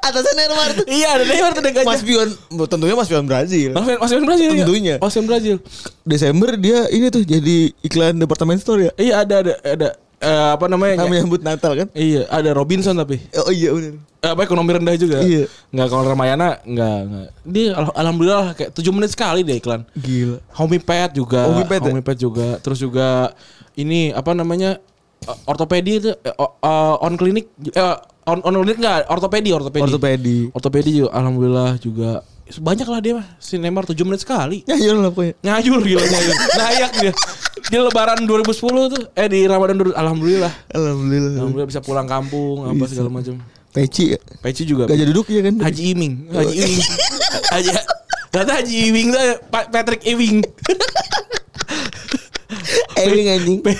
[SPEAKER 3] Atasnya Neymar tuh.
[SPEAKER 2] iya, ada Neymar tuh ada gajah.
[SPEAKER 3] Mas Pion, tentunya Mas Pion Brazil.
[SPEAKER 2] Mas Pion, Mas Pion Brazil. iya.
[SPEAKER 3] Tentunya.
[SPEAKER 2] Mas Pion Brazil.
[SPEAKER 3] Desember dia ini tuh jadi iklan departemen store ya.
[SPEAKER 2] Iya, ada ada ada eh, apa namanya?
[SPEAKER 3] Nah, menyambut Natal kan?
[SPEAKER 2] Iya, ada Robinson tapi.
[SPEAKER 3] Oh iya benar.
[SPEAKER 2] Eh, apa ekonomi rendah juga.
[SPEAKER 3] Iya.
[SPEAKER 2] Enggak kalau Ramayana enggak enggak. Dia al- alhamdulillah lah, kayak 7 menit sekali deh iklan.
[SPEAKER 3] Gila.
[SPEAKER 2] Homey Pet juga.
[SPEAKER 3] Homey Pet ya?
[SPEAKER 2] Homey Pet juga. Terus juga ini apa namanya? eh, Ortopedi itu eh, o- eh, on klinik eh, on on klinik enggak ortopedi ortopedi.
[SPEAKER 3] Ortopedi.
[SPEAKER 2] Ortopedi juga alhamdulillah juga banyak lah dia mah. Si Neymar 7 menit sekali.
[SPEAKER 3] Ya iya lah pokoknya.
[SPEAKER 2] Ngayur gila ngayur. Nayak dia. Dia lebaran 2010 tuh eh di Ramadan dulu- alhamdulillah.
[SPEAKER 3] Alhamdulillah.
[SPEAKER 2] Alhamdulillah bisa pulang kampung apa
[SPEAKER 3] Iya.
[SPEAKER 2] segala macam.
[SPEAKER 3] Peci ya.
[SPEAKER 2] Peci juga.
[SPEAKER 3] Gajah duduk ya kan?
[SPEAKER 2] Haji Iming. Haji Iming. Haji Ternyata Haji Iming tuh Pa- Patrick Ewing.
[SPEAKER 3] Ewing anjing.
[SPEAKER 2] Pe-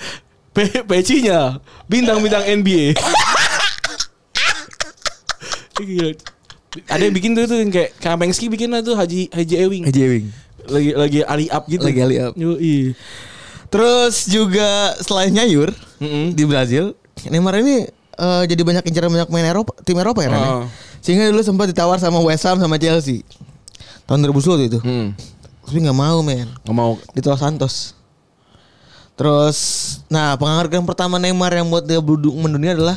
[SPEAKER 2] Pe- Pecinya bintang-bintang NBA. Gila. Iya. Ada yang bikin tuh, tuh yang kayak Kamengski bikin lah tuh Haji Haji Ewing.
[SPEAKER 3] Haji Ewing.
[SPEAKER 2] Lagi lagi ali up gitu.
[SPEAKER 3] Lagi ali up.
[SPEAKER 2] Yoi.
[SPEAKER 3] Terus juga selain nyayur
[SPEAKER 2] Mm-mm.
[SPEAKER 3] di Brazil, Neymar ini eh, jadi banyak incaran banyak main Eropa, tim Eropa ya Ran, ya?
[SPEAKER 2] Ah.
[SPEAKER 3] Sehingga dulu sempat ditawar sama West Ham sama Chelsea. Tahun 2010 waktu itu.
[SPEAKER 2] Hmm.
[SPEAKER 3] Tapi nggak mau men.
[SPEAKER 2] Gak mau
[SPEAKER 3] Ditolak Santos. Terus nah penghargaan pertama Neymar yang buat dia berdu- mendunia adalah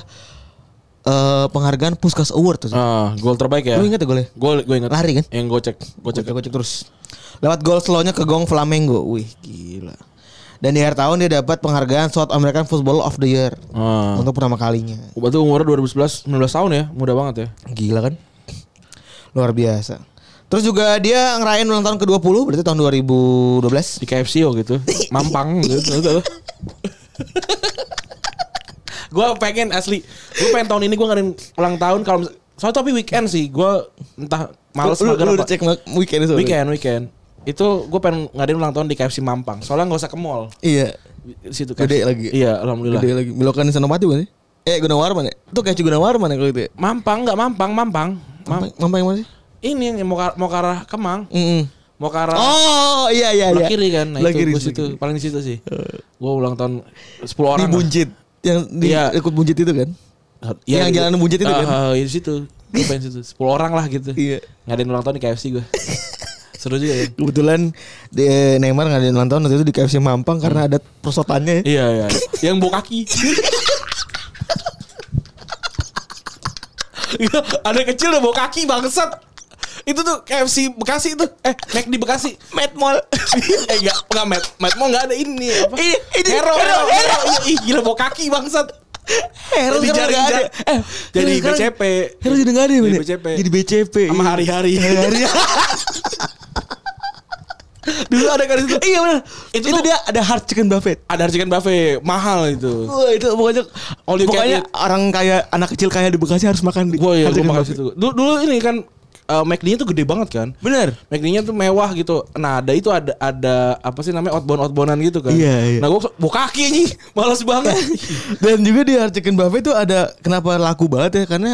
[SPEAKER 3] eh, penghargaan Puskas Award tuh.
[SPEAKER 2] ah gol terbaik ya.
[SPEAKER 3] Lu ingat ya golnya?
[SPEAKER 2] Gol gue ingat.
[SPEAKER 3] Lari kan?
[SPEAKER 2] Yang gocek, gocek.
[SPEAKER 3] Gocek, gocek terus. Lewat gol slownya ke gong Flamengo. Wih, gila. Dan di akhir tahun dia dapat penghargaan South American Footballer of the Year
[SPEAKER 2] Ah.
[SPEAKER 3] untuk pertama kalinya.
[SPEAKER 2] Berarti umurnya 2011, 19 tahun ya, muda banget ya.
[SPEAKER 3] Gila kan? Luar biasa. Terus juga dia ngerayain ulang tahun ke-20 berarti tahun 2012.
[SPEAKER 2] di KFC oh gitu mampang gitu tuh gue pengen asli gue pengen tahun ini gue ngadain ulang tahun kalau mis- soalnya tapi weekend sih gue entah males
[SPEAKER 3] lu,
[SPEAKER 2] mager apa?
[SPEAKER 3] lu udah cek ma- weekend itu.
[SPEAKER 2] weekend weekend itu gue pengen ngadain ulang tahun di KFC Mampang soalnya nggak usah ke mall
[SPEAKER 3] Iya.
[SPEAKER 2] di situ KFC.
[SPEAKER 3] Gede lagi.
[SPEAKER 2] iya alhamdulillah
[SPEAKER 3] Gede lagi. Belokan Senopati bukan sih? Eh Gunawarman ya? Itu kayak Gunawarman ya kalau gitu ya?
[SPEAKER 2] Mampang nggak Mampang Mampang Mam-
[SPEAKER 3] Mampa- Mampa yang mana sih?
[SPEAKER 2] ini yang mau ke- mau ke arah Kemang
[SPEAKER 3] Mm-mm.
[SPEAKER 2] mau ke arah
[SPEAKER 3] Oh iya iya iya.
[SPEAKER 2] Belah kiri kan nah
[SPEAKER 3] Belah
[SPEAKER 2] itu
[SPEAKER 3] kiri,
[SPEAKER 2] gue
[SPEAKER 3] belah
[SPEAKER 2] situ
[SPEAKER 3] kiri.
[SPEAKER 2] paling di situ sih gue ulang tahun 10 orang lah.
[SPEAKER 3] Di Buncit. Yang di
[SPEAKER 2] Iya.
[SPEAKER 3] ikut Buncit itu kan?
[SPEAKER 2] Iya,
[SPEAKER 3] Yang
[SPEAKER 2] di-
[SPEAKER 3] jalanan Buncit itu
[SPEAKER 2] Ah,
[SPEAKER 3] kan?
[SPEAKER 2] ah, di situ gue pengen situ 10 orang lah gitu
[SPEAKER 3] Iya.
[SPEAKER 2] ngadain ulang tahun di KFC gue seru juga ya
[SPEAKER 3] Kebetulan di Neymar ngadain ulang tahun waktu itu di KFC Mampang karena ada
[SPEAKER 2] Hmm.
[SPEAKER 3] persotannya. ya.
[SPEAKER 2] iya iya yang bawa kaki Iya, ada yang kecil udah bawa kaki bangsat itu tuh KFC Bekasi tuh eh Mac di Bekasi
[SPEAKER 3] Mad Mall.
[SPEAKER 2] eh enggak enggak Matt Matt mau enggak ada ini apa
[SPEAKER 3] Ini, ini,
[SPEAKER 2] hero
[SPEAKER 3] hero,
[SPEAKER 2] hero,
[SPEAKER 3] hero.
[SPEAKER 2] Iya, ih, gila bawa kaki bangsat
[SPEAKER 3] Hero
[SPEAKER 2] Jadi
[SPEAKER 3] Eh, sekarang
[SPEAKER 2] jarang-
[SPEAKER 3] nggak ada.
[SPEAKER 2] jarang. Eh, jadi
[SPEAKER 3] sekarang-
[SPEAKER 2] BCP.
[SPEAKER 3] Hero jadi nggak ada ya,
[SPEAKER 2] Jadi
[SPEAKER 3] Bini?
[SPEAKER 2] BCP.
[SPEAKER 3] Jadi BCP.
[SPEAKER 2] sama
[SPEAKER 3] iya.
[SPEAKER 2] hari-hari
[SPEAKER 3] Hari-hari.
[SPEAKER 2] dulu ada kan itu
[SPEAKER 3] Iya benar.
[SPEAKER 2] Itu
[SPEAKER 3] Itu,
[SPEAKER 2] tuh-
[SPEAKER 3] dia ada hard chicken buffet.
[SPEAKER 2] ada chicken buffet mahal itu
[SPEAKER 3] Wah itu pokoknya
[SPEAKER 2] All you can
[SPEAKER 3] pokoknya
[SPEAKER 2] eat.
[SPEAKER 3] orang kaya anak kecil kaya di Bekasi harus makan di.
[SPEAKER 2] Wah iya gue
[SPEAKER 3] hard chicken
[SPEAKER 2] makan
[SPEAKER 3] buffet.
[SPEAKER 2] situ dulu, dulu ini kan eh, McD-nya tuh gede banget kan
[SPEAKER 3] Bener.
[SPEAKER 2] McD-nya tuh mewah gitu Nah ada itu ada ada apa sih namanya outbound outboundan gitu kan
[SPEAKER 3] Iya, iya.
[SPEAKER 2] Nah gue bawa kaki nih Males banget
[SPEAKER 3] Dan juga di hard chicken buffet itu ada kenapa laku banget ya karena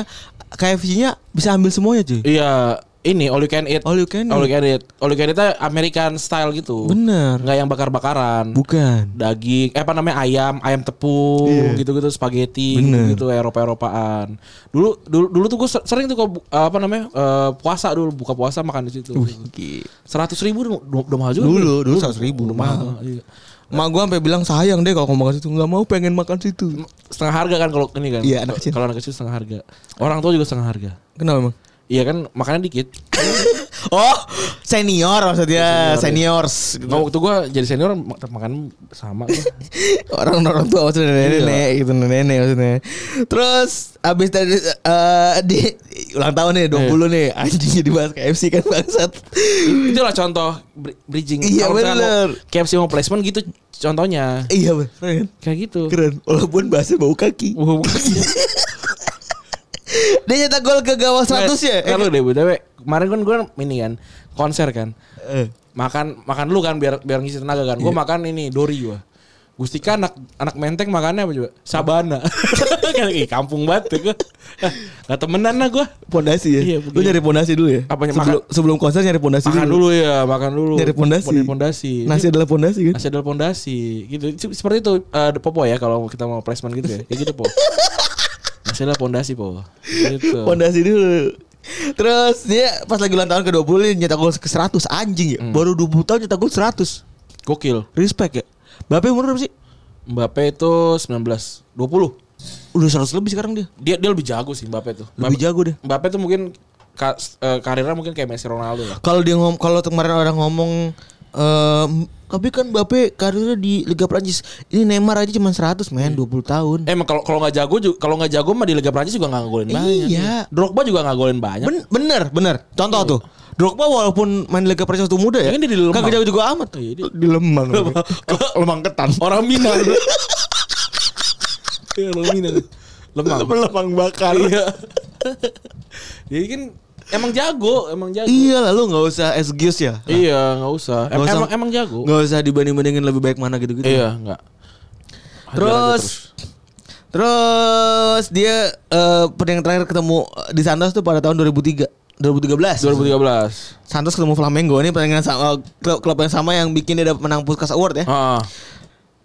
[SPEAKER 3] KFC-nya bisa ambil semuanya cuy.
[SPEAKER 2] Iya ini all you can eat
[SPEAKER 3] All you can eat.
[SPEAKER 2] All you can eat All you can eat American style gitu
[SPEAKER 3] Bener.
[SPEAKER 2] Nggak yang bakar-bakaran
[SPEAKER 3] Bukan.
[SPEAKER 2] daging eh apa namanya ayam ayam tepung
[SPEAKER 3] Iya.
[SPEAKER 2] gitu-gitu spaghetti
[SPEAKER 3] Bener.
[SPEAKER 2] gitu-gitu Eropa-Eropaan. Dulu dulu dulu tuh gue sering tuh ke bu- apa namanya eh, puasa dulu buka puasa makan di situ. Seratus ribu udah- udah udah mahal juga.
[SPEAKER 3] Dulu dulu seratus ribu mahal.
[SPEAKER 2] Iya.
[SPEAKER 3] Mak gua sampai bilang sayang deh kalau ngomong ke situ nggak mau pengen makan situ.
[SPEAKER 2] Setengah harga kan kalau ini kan.
[SPEAKER 3] Iya, anak kecil.
[SPEAKER 2] Kalau anak kecil setengah harga. Orang tua juga setengah harga.
[SPEAKER 3] Kenapa emang?
[SPEAKER 2] Iya kan makannya dikit.
[SPEAKER 3] Oh senior maksudnya seniors.
[SPEAKER 2] Nggak waktu gue jadi senior mak- makan sama. gua.
[SPEAKER 3] Iya. orang orang tua maksudnya nenek nenek
[SPEAKER 2] Iya.
[SPEAKER 3] gitu nenek nenek maksudnya terus abis tadi eh, di ulang tahun
[SPEAKER 2] Eh.
[SPEAKER 3] nih 20 nih anjingnya dibahas KFC kan bangsat
[SPEAKER 2] Itulah contoh bri- bridging.
[SPEAKER 3] Iya,
[SPEAKER 2] Kalau misalkan
[SPEAKER 3] bener.
[SPEAKER 2] mau KFC mau placement gitu contohnya.
[SPEAKER 3] iya bener keren
[SPEAKER 2] Kayak gitu.
[SPEAKER 3] keren walaupun bahasnya bau kaki
[SPEAKER 2] Wah, bukan.
[SPEAKER 3] dia nyetak gol ke gawang 100 ya Eh,
[SPEAKER 2] Kalau deh BTW, kemarin kan gue ini kan konser kan.
[SPEAKER 3] eh,
[SPEAKER 2] Makan makan lu kan biar biar ngisi tenaga kan. Gue
[SPEAKER 3] Iya.
[SPEAKER 2] makan ini dori gue. Gustika anak anak menteng makannya apa coba? Sabana. Kayak ih, kampung banget gue. Gak temenan lah gue.
[SPEAKER 3] pondasi ya
[SPEAKER 2] Iya,
[SPEAKER 3] lu
[SPEAKER 2] begini.
[SPEAKER 3] nyari pondasi dulu ya
[SPEAKER 2] Apanya,
[SPEAKER 3] sebelum, sebelum konser nyari pondasi
[SPEAKER 2] Makan dulu ya, makan dulu.
[SPEAKER 3] nyari pondasi
[SPEAKER 2] Nyari pondasi.
[SPEAKER 3] nasi adalah pondasi kan
[SPEAKER 2] Nasi adalah pondasi. Gitu. Se- Seperti itu eh, Popo ya kalau kita mau placement gitu ya. Kayak gitu, Po. Nasi adalah pondasi, Po. Gitu.
[SPEAKER 3] Pondasi dulu. Terus dia pas lagi ulang tahun ke-20 nih nyetak gol ke 100 anjing
[SPEAKER 2] Hmm.
[SPEAKER 3] ya. Baru 20 tahun nyetak gol 100.
[SPEAKER 2] Gokil.
[SPEAKER 3] Respect ya. Bape umur berapa sih?
[SPEAKER 2] Mbappe itu 19, 20.
[SPEAKER 3] Udah 100 lebih sekarang dia.
[SPEAKER 2] Dia dia lebih jago sih Mbappe tuh.
[SPEAKER 3] Lebih jago deh.
[SPEAKER 2] Mbappe tuh mungkin ka- eh, karirnya mungkin kayak Messi Ronaldo ya. lah.
[SPEAKER 3] Kalau dia ngom kalau kemarin orang ngomong em, tapi kan Bape karirnya di Liga Prancis. Ini Neymar aja cuma 100 men, 20 tahun.
[SPEAKER 2] Eh, Emang kalau kalau nggak jago ju- kalau nggak jago mah di Liga Prancis juga nggak ngegolin banyak.
[SPEAKER 3] Iya.
[SPEAKER 2] Drogba juga nggak ngegolin banyak.
[SPEAKER 3] Ben- bener, bener. Contoh tuh. Drogba walaupun main Liga Prancis waktu muda ya.
[SPEAKER 2] Ya kan dia di Lemang.
[SPEAKER 3] Kagak jago juga amat.
[SPEAKER 2] Iya, dia-
[SPEAKER 3] Di Lemang. Lemang ketan.
[SPEAKER 2] Orang Minang. Iya, orang Minang. Lemang.
[SPEAKER 3] Lemang bakar.
[SPEAKER 2] Iya. Jadi kan emang jago, emang jago.
[SPEAKER 3] Iya lah lu nggak usah excuse ya.
[SPEAKER 2] Iya, nggak usah. Em-
[SPEAKER 3] Nggak usah.
[SPEAKER 2] Emang emang jago.
[SPEAKER 3] Nggak usah dibanding-bandingin lebih baik mana gitu-gitu.
[SPEAKER 2] Iya, nggak. Hajar aja
[SPEAKER 3] Terus terus dia eh yang terakhir ketemu eh, di Santos tuh pada tahun 2003. 2013.
[SPEAKER 2] 2013.
[SPEAKER 3] Santos ketemu Flamengo ini pertandingan sama klub, klub yang sama yang bikin dia dapat menang Puskas Award ya.
[SPEAKER 2] Ah.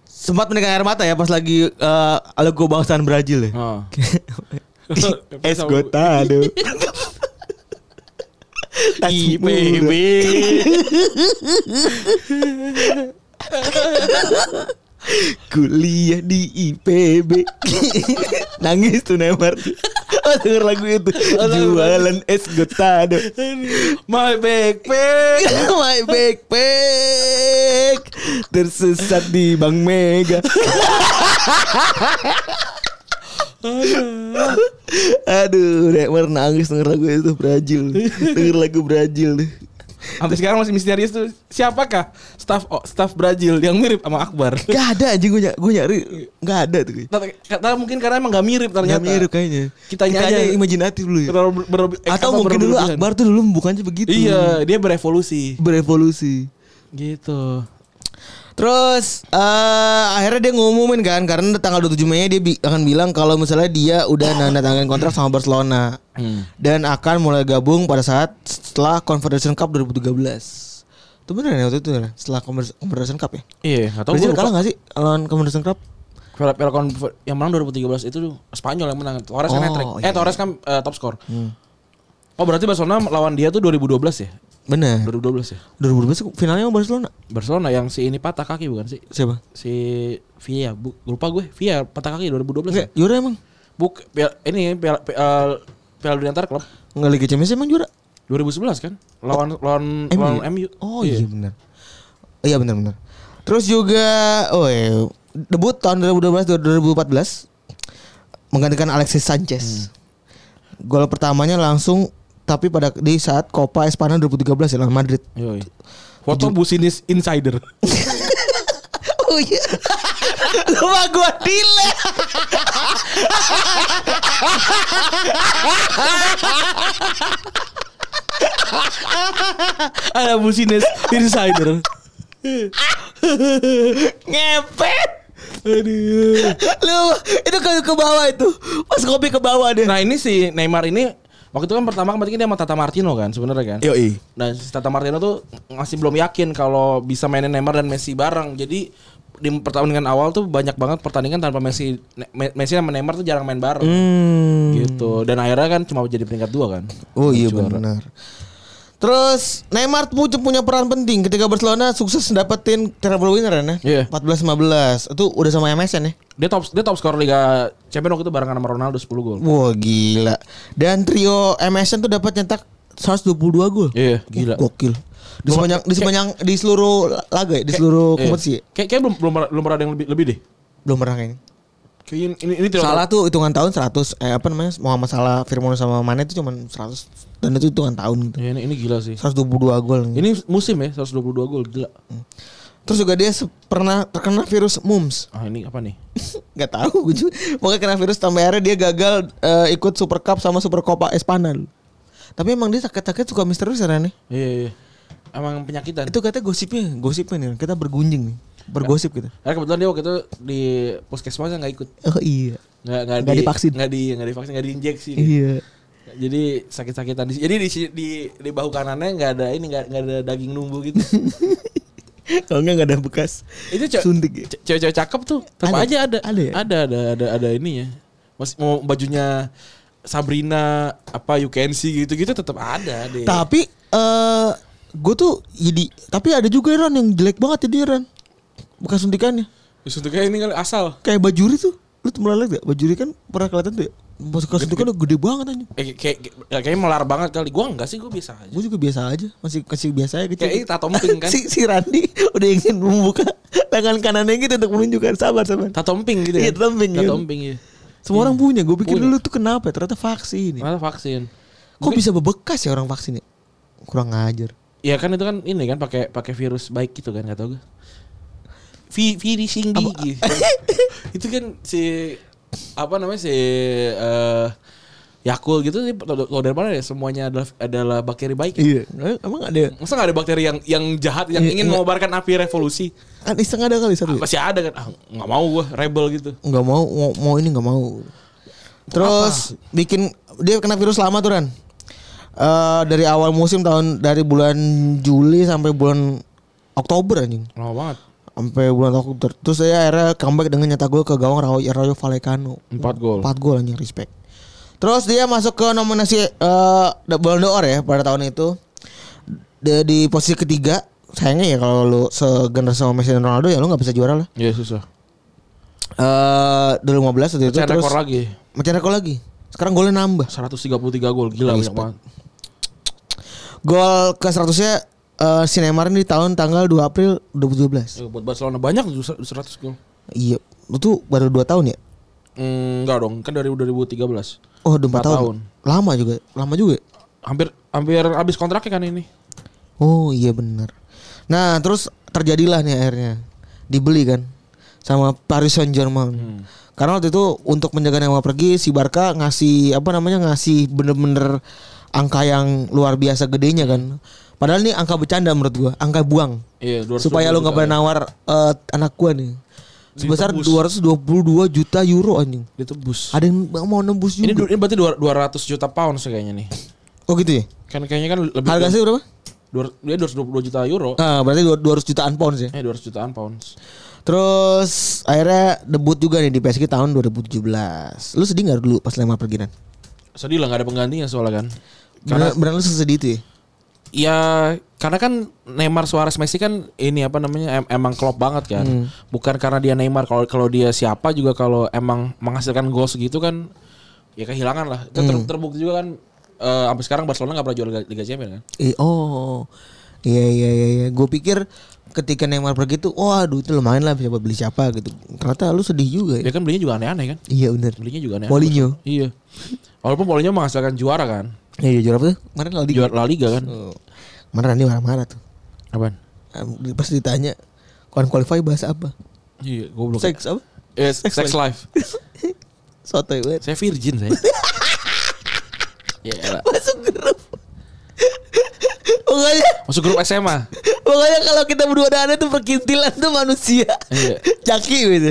[SPEAKER 3] Sempat meninggal air mata ya pas lagi eh Alago bangsaan Brazil ya.
[SPEAKER 2] Ah.
[SPEAKER 3] aduh.
[SPEAKER 2] Ih, baby.
[SPEAKER 3] kuliah di IPB nangis tuh Neymar oh denger lagu itu
[SPEAKER 4] Oh,
[SPEAKER 3] jualan es gotado
[SPEAKER 2] My backpack.
[SPEAKER 3] my backpack tersesat di Bank Mega aduh Neymar nangis denger lagu itu Brazil denger lagu Brazil deh
[SPEAKER 4] Sampai sekarang masih misterius tuh siapakah staff oh, staff Brazil yang mirip sama Akbar?
[SPEAKER 3] Gak ada anjing gue nyari, gue nyari gak ada tuh. Gak
[SPEAKER 4] Tata- Kata mungkin karena emang gak mirip ternyata.
[SPEAKER 3] mirip kayaknya.
[SPEAKER 4] Kitanya
[SPEAKER 3] Kitanya
[SPEAKER 4] aja
[SPEAKER 3] imajinatif dulu ya.
[SPEAKER 4] Terlalu ber- ber- eh,
[SPEAKER 3] Atau
[SPEAKER 4] apa,
[SPEAKER 3] mungkin dulu
[SPEAKER 4] berlebihan.
[SPEAKER 3] Akbar tuh dulu bukannya begitu.
[SPEAKER 4] Iya, dia berevolusi.
[SPEAKER 3] Berevolusi.
[SPEAKER 4] Gitu.
[SPEAKER 3] Terus eh akhirnya dia ngumumin kan karena tanggal 27 Mei dia bi- akan bilang kalau misalnya dia udah nanda tangan kontrak sama Barcelona dan akan mulai gabung pada saat setelah Confederation Cup 2013. Itu bener ya waktu itu ya? Setelah Conver- Confederation Cup ya?
[SPEAKER 2] Iya, atau
[SPEAKER 3] Brazil
[SPEAKER 2] gue
[SPEAKER 3] kalah gak sih lawan Confederation Cup?
[SPEAKER 2] Piala Piala Konf- yang menang 2013 itu Spanyol yang menang. Torres kan
[SPEAKER 3] Oh,
[SPEAKER 2] hat-trick. Eh
[SPEAKER 3] iya. Hmm.
[SPEAKER 2] Torres kan eh, top score. Oh berarti Barcelona lawan dia tuh 2012 ya?
[SPEAKER 3] Eh. Bener.
[SPEAKER 2] 2012 ya.
[SPEAKER 3] 2012 finalnya sama Barcelona.
[SPEAKER 2] Barcelona yang si ini patah kaki bukan sih?
[SPEAKER 3] Siapa?
[SPEAKER 2] Si Villa, bu, lupa gue. Villa patah kaki 2012. Ya?
[SPEAKER 3] Enggak, juara emang.
[SPEAKER 2] Buk, piala, ini piala, piala, piala dunia antar klub
[SPEAKER 3] Enggak Liga Champions emang juara.
[SPEAKER 2] 2011 kan? Lawan lawan
[SPEAKER 3] MU.
[SPEAKER 2] lawan MU.
[SPEAKER 3] Oh iya, benar. Iya benar benar. Terus juga oh iya, debut tahun 2012 2014 menggantikan Alexis Sanchez. Gol pertamanya langsung tapi pada di saat Copa Espana 2013 ya lawan Madrid.
[SPEAKER 2] Yoi.
[SPEAKER 4] Foto Businis Insider.
[SPEAKER 3] Oh iya. Lupa gua delete.
[SPEAKER 4] Ada Businis Insider.
[SPEAKER 3] Ngepet.
[SPEAKER 4] Aduh.
[SPEAKER 3] Lu itu ke, ke bawah itu. Pas kopi ke bawah deh.
[SPEAKER 2] Nah ini si Neymar ini waktu itu kan pertama kemarin dia sama Tata Martino kan sebenarnya kan.
[SPEAKER 3] Yoi.
[SPEAKER 2] Nah si Tata Martino tuh masih belum yakin kalau bisa mainin Neymar dan Messi bareng. Jadi di pertandingan awal tuh banyak banget pertandingan tanpa Messi. Ne- Me- Messi sama Neymar tuh jarang main bareng.
[SPEAKER 3] Hmm.
[SPEAKER 2] Gitu. Dan akhirnya kan cuma jadi peringkat dua kan.
[SPEAKER 3] Oh iya benar. Terus Neymar pun punya peran penting ketika Barcelona sukses dapetin treble winner ya. Nah.
[SPEAKER 2] Iya.
[SPEAKER 3] 14-15. Itu udah sama MSN ya.
[SPEAKER 2] Dia top dia top skor Liga Champions waktu itu barengan sama Ronaldo 10 gol.
[SPEAKER 3] Wah gila. Dan trio MSN tuh dapat nyetak 122 gol.
[SPEAKER 2] Iya, gila.
[SPEAKER 3] Gokil. Di sepanjang di sepanjang di seluruh laga ya, di
[SPEAKER 2] Iya.
[SPEAKER 3] seluruh kompetisi. ya?
[SPEAKER 2] Kayak kayak belum belum pernah- belum pernah ada yang lebih lebih deh.
[SPEAKER 3] Belum pernah kayaknya.
[SPEAKER 2] Kayaknya ini ini tidak
[SPEAKER 3] Salah tuh hitungan tahun 100 eh apa namanya? Muhammad Salah, Firmino sama Mane itu cuman 100 dan itu hitungan tahun gitu.
[SPEAKER 2] Ya, ini ini gila sih.
[SPEAKER 3] 122 gol.
[SPEAKER 2] Ini musim ya 122 gol gila.
[SPEAKER 3] Hmm. Terus juga dia se- pernah terkena virus mumps.
[SPEAKER 2] Ah ini apa nih?
[SPEAKER 3] Gak tahu gue juga. Pokoknya kena virus sampai akhirnya dia gagal eh, ikut Super Cup sama Super Copa Espana. Tapi emang dia sakit-sakit suka misterius ya Ren, ya?
[SPEAKER 2] Iya, iya. Emang penyakitan.
[SPEAKER 3] Itu katanya gosipnya, gosipnya nih. Kita bergunjing nih, bergosip kita.
[SPEAKER 2] Karena kebetulan dia waktu itu di puskesmasnya nggak ikut,
[SPEAKER 3] Oh iya.
[SPEAKER 2] nggak nggak
[SPEAKER 3] Nggak divaksin.
[SPEAKER 2] nggak di nggak divaksin, nggak diinjeksi. dia.
[SPEAKER 3] Iya.
[SPEAKER 2] Jadi sakit-sakitan. Di- Jadi di si- di, di bahu kanannya nggak ada ini nggak nggak ada daging numbu gitu.
[SPEAKER 3] Kalau enggak enggak ada bekas.
[SPEAKER 2] Itu ce-
[SPEAKER 3] Suntik ya?
[SPEAKER 2] ce- cewek-cewek cakep tuh, tetap
[SPEAKER 3] Ada.
[SPEAKER 2] aja ada.
[SPEAKER 3] Ada ya?
[SPEAKER 2] ada ada ada ada ininya. Masih mau bajunya Sabrina apa you can see gitu-gitu tetap ada deh.
[SPEAKER 3] Tapi eh gue tuh jadi tapi ada juga Ron yang jelek banget jadi Ron. Bekas suntikannya.
[SPEAKER 2] Suntuknya ini kali asal.
[SPEAKER 3] Kayak bajuri tuh. Lu tuh pernah lihat gak? Bajuri kan pernah kelihatan tuh ya. Masuk ke suntikan udah gede banget anjing.
[SPEAKER 2] Eh, kayak, kayak, kayaknya melar banget kali. Gua enggak sih, gua biasa aja.
[SPEAKER 3] Gue juga biasa aja, masih kasih biasa aja gitu.
[SPEAKER 2] Kayaknya tato emping kan?
[SPEAKER 3] si, si Randi udah ingin membuka tangan kanannya gitu untuk menunjukkan sabar sabar.
[SPEAKER 2] Tato emping gitu
[SPEAKER 3] Iya, tato emping,
[SPEAKER 2] Tato
[SPEAKER 3] iya.
[SPEAKER 2] emping iya.
[SPEAKER 3] Semua orang punya, gue pikir
[SPEAKER 2] Punya.
[SPEAKER 3] dulu tuh kenapa ya? Ternyata vaksin. ya.
[SPEAKER 2] Mana vaksin?
[SPEAKER 3] Kok bisa bebekas ya orang vaksin ya? Kurang ngajar.
[SPEAKER 2] Ya kan itu kan ini kan pakai pakai virus baik gitu kan kata gue. Vi virusing gigi. itu kan si apa namanya si eh Yakul gitu sih kalau dari mana ya semuanya adalah adalah bakteri baik.
[SPEAKER 3] Iya. Emang ada
[SPEAKER 2] Masa gak ada bakteri yang yang jahat yang
[SPEAKER 3] Iya,
[SPEAKER 2] ingin
[SPEAKER 3] iya.
[SPEAKER 2] mengobarkan api revolusi?
[SPEAKER 3] kan iseng ada kali satu.
[SPEAKER 2] Masih ada kan? Ah, nggak mau gue rebel gitu.
[SPEAKER 3] Enggak mau, mau, mau ini enggak mau. Terus bikin dia kena virus lama tuh Ran. Eh, dari awal musim tahun dari bulan Juli sampai bulan Oktober anjing.
[SPEAKER 2] Lama banget.
[SPEAKER 3] sampai bulan Oktober. Terus saya akhirnya comeback dengan nyetak gol ke gawang Rayo, Rayo Vallecano.
[SPEAKER 2] Empat gol.
[SPEAKER 3] Empat gol anjing respect. Terus dia masuk ke nominasi eh Ballon d'Or ya pada tahun itu. Dia di posisi ketiga. Sayangnya ya kalau lu segenerasi sama Messi dan Ronaldo ya lu nggak bisa juara lah.
[SPEAKER 2] Ya susah.
[SPEAKER 3] Eh 2015 waktu itu
[SPEAKER 2] Pecah
[SPEAKER 3] terus
[SPEAKER 2] rekor lagi.
[SPEAKER 3] Macam rekor lagi. Sekarang golnya nambah.
[SPEAKER 2] 133 gol gila banyak banget.
[SPEAKER 3] Gol ke 100-nya eh si Neymar ini di tahun tanggal 2 April 2017.
[SPEAKER 2] Eh, Buat Barcelona banyak tuh 100 gol.
[SPEAKER 3] Iya, itu baru 2 tahun ya.
[SPEAKER 2] Mm, enggak dong, kan dari 2013.
[SPEAKER 3] Oh, udah 4,
[SPEAKER 2] Empat
[SPEAKER 3] tahun.
[SPEAKER 2] tahun.
[SPEAKER 3] Lama juga, lama juga. ya?
[SPEAKER 2] Hampir hampir habis kontraknya kan ini.
[SPEAKER 3] Oh iya benar. Nah terus terjadilah nih akhirnya dibeli kan sama Paris Saint Germain.
[SPEAKER 2] Hmm.
[SPEAKER 3] Karena waktu itu untuk menjaga Neymar pergi si Barca ngasih apa namanya ngasih bener-bener angka yang luar biasa gedenya kan. Padahal ini angka bercanda menurut gua, angka buang.
[SPEAKER 2] Iya, 220
[SPEAKER 3] Supaya lo nggak
[SPEAKER 2] juta.
[SPEAKER 3] pernah nawar eh, anak gua nih. Sebesar 222 juta euro anjing.
[SPEAKER 2] ditebus.
[SPEAKER 3] Ada yang mau nembus
[SPEAKER 2] Ini, du-
[SPEAKER 3] juga.
[SPEAKER 2] ini berarti dua- 200 juta pound sih kayaknya nih.
[SPEAKER 3] oh gitu ya?
[SPEAKER 2] Kan kayaknya kan lebih
[SPEAKER 3] Harga sih berapa?
[SPEAKER 2] dua- dia 222 juta euro.
[SPEAKER 3] Ah, berarti 200 jutaan ya? pound sih.
[SPEAKER 2] Eh 200 jutaan pounds.
[SPEAKER 3] Terus akhirnya debut juga nih di PSG tahun 2017. Lu sedih nggak dulu pas Lemar pergi Nan?
[SPEAKER 2] Sedih lah nggak ada penggantinya soalnya kan.
[SPEAKER 3] Beneran, beneran lu sedih itu ya?
[SPEAKER 2] Ya karena kan Neymar Suarez Messi kan ini apa namanya em- emang klop banget kan. Bukan karena dia Neymar kalau kalau dia siapa juga kalau emang menghasilkan gol segitu kan ya kehilangan lah. Itu ter- terbukti juga kan eh, sampai sekarang Barcelona nggak pernah juara Liga- Liga Champions kan.
[SPEAKER 3] Eh, oh. Iya iya iya iya. Gue pikir ketika Neymar pergi tuh, wah aduh itu lumayan lah bisa beli siapa gitu. Ternyata lu sedih juga ya.
[SPEAKER 2] Dia kan belinya juga aneh-aneh kan.
[SPEAKER 3] Iya bener.
[SPEAKER 2] Belinya juga aneh.
[SPEAKER 3] Mourinho.
[SPEAKER 2] Iya. Walaupun Mourinho menghasilkan juara kan.
[SPEAKER 3] Iya iya, juara apa tuh? Kemarin Laldi.
[SPEAKER 2] Juara La Liga kan.
[SPEAKER 3] Kemarin Laldi marah-marah tuh.
[SPEAKER 2] Apaan?
[SPEAKER 3] Em, Pas ditanya, kon qualify bahasa apa?
[SPEAKER 2] Iya, goblok.
[SPEAKER 3] Seks apa?
[SPEAKER 2] Eh, sex, life.
[SPEAKER 3] Sotoy banget.
[SPEAKER 2] Saya virgin saya. ya, elah.
[SPEAKER 3] Masuk grup. Pokoknya
[SPEAKER 2] Masuk grup SMA.
[SPEAKER 3] Pokoknya kalau kita berdua ada aneh tuh perkintilan tuh manusia.
[SPEAKER 2] Iya.
[SPEAKER 3] Jaki gitu.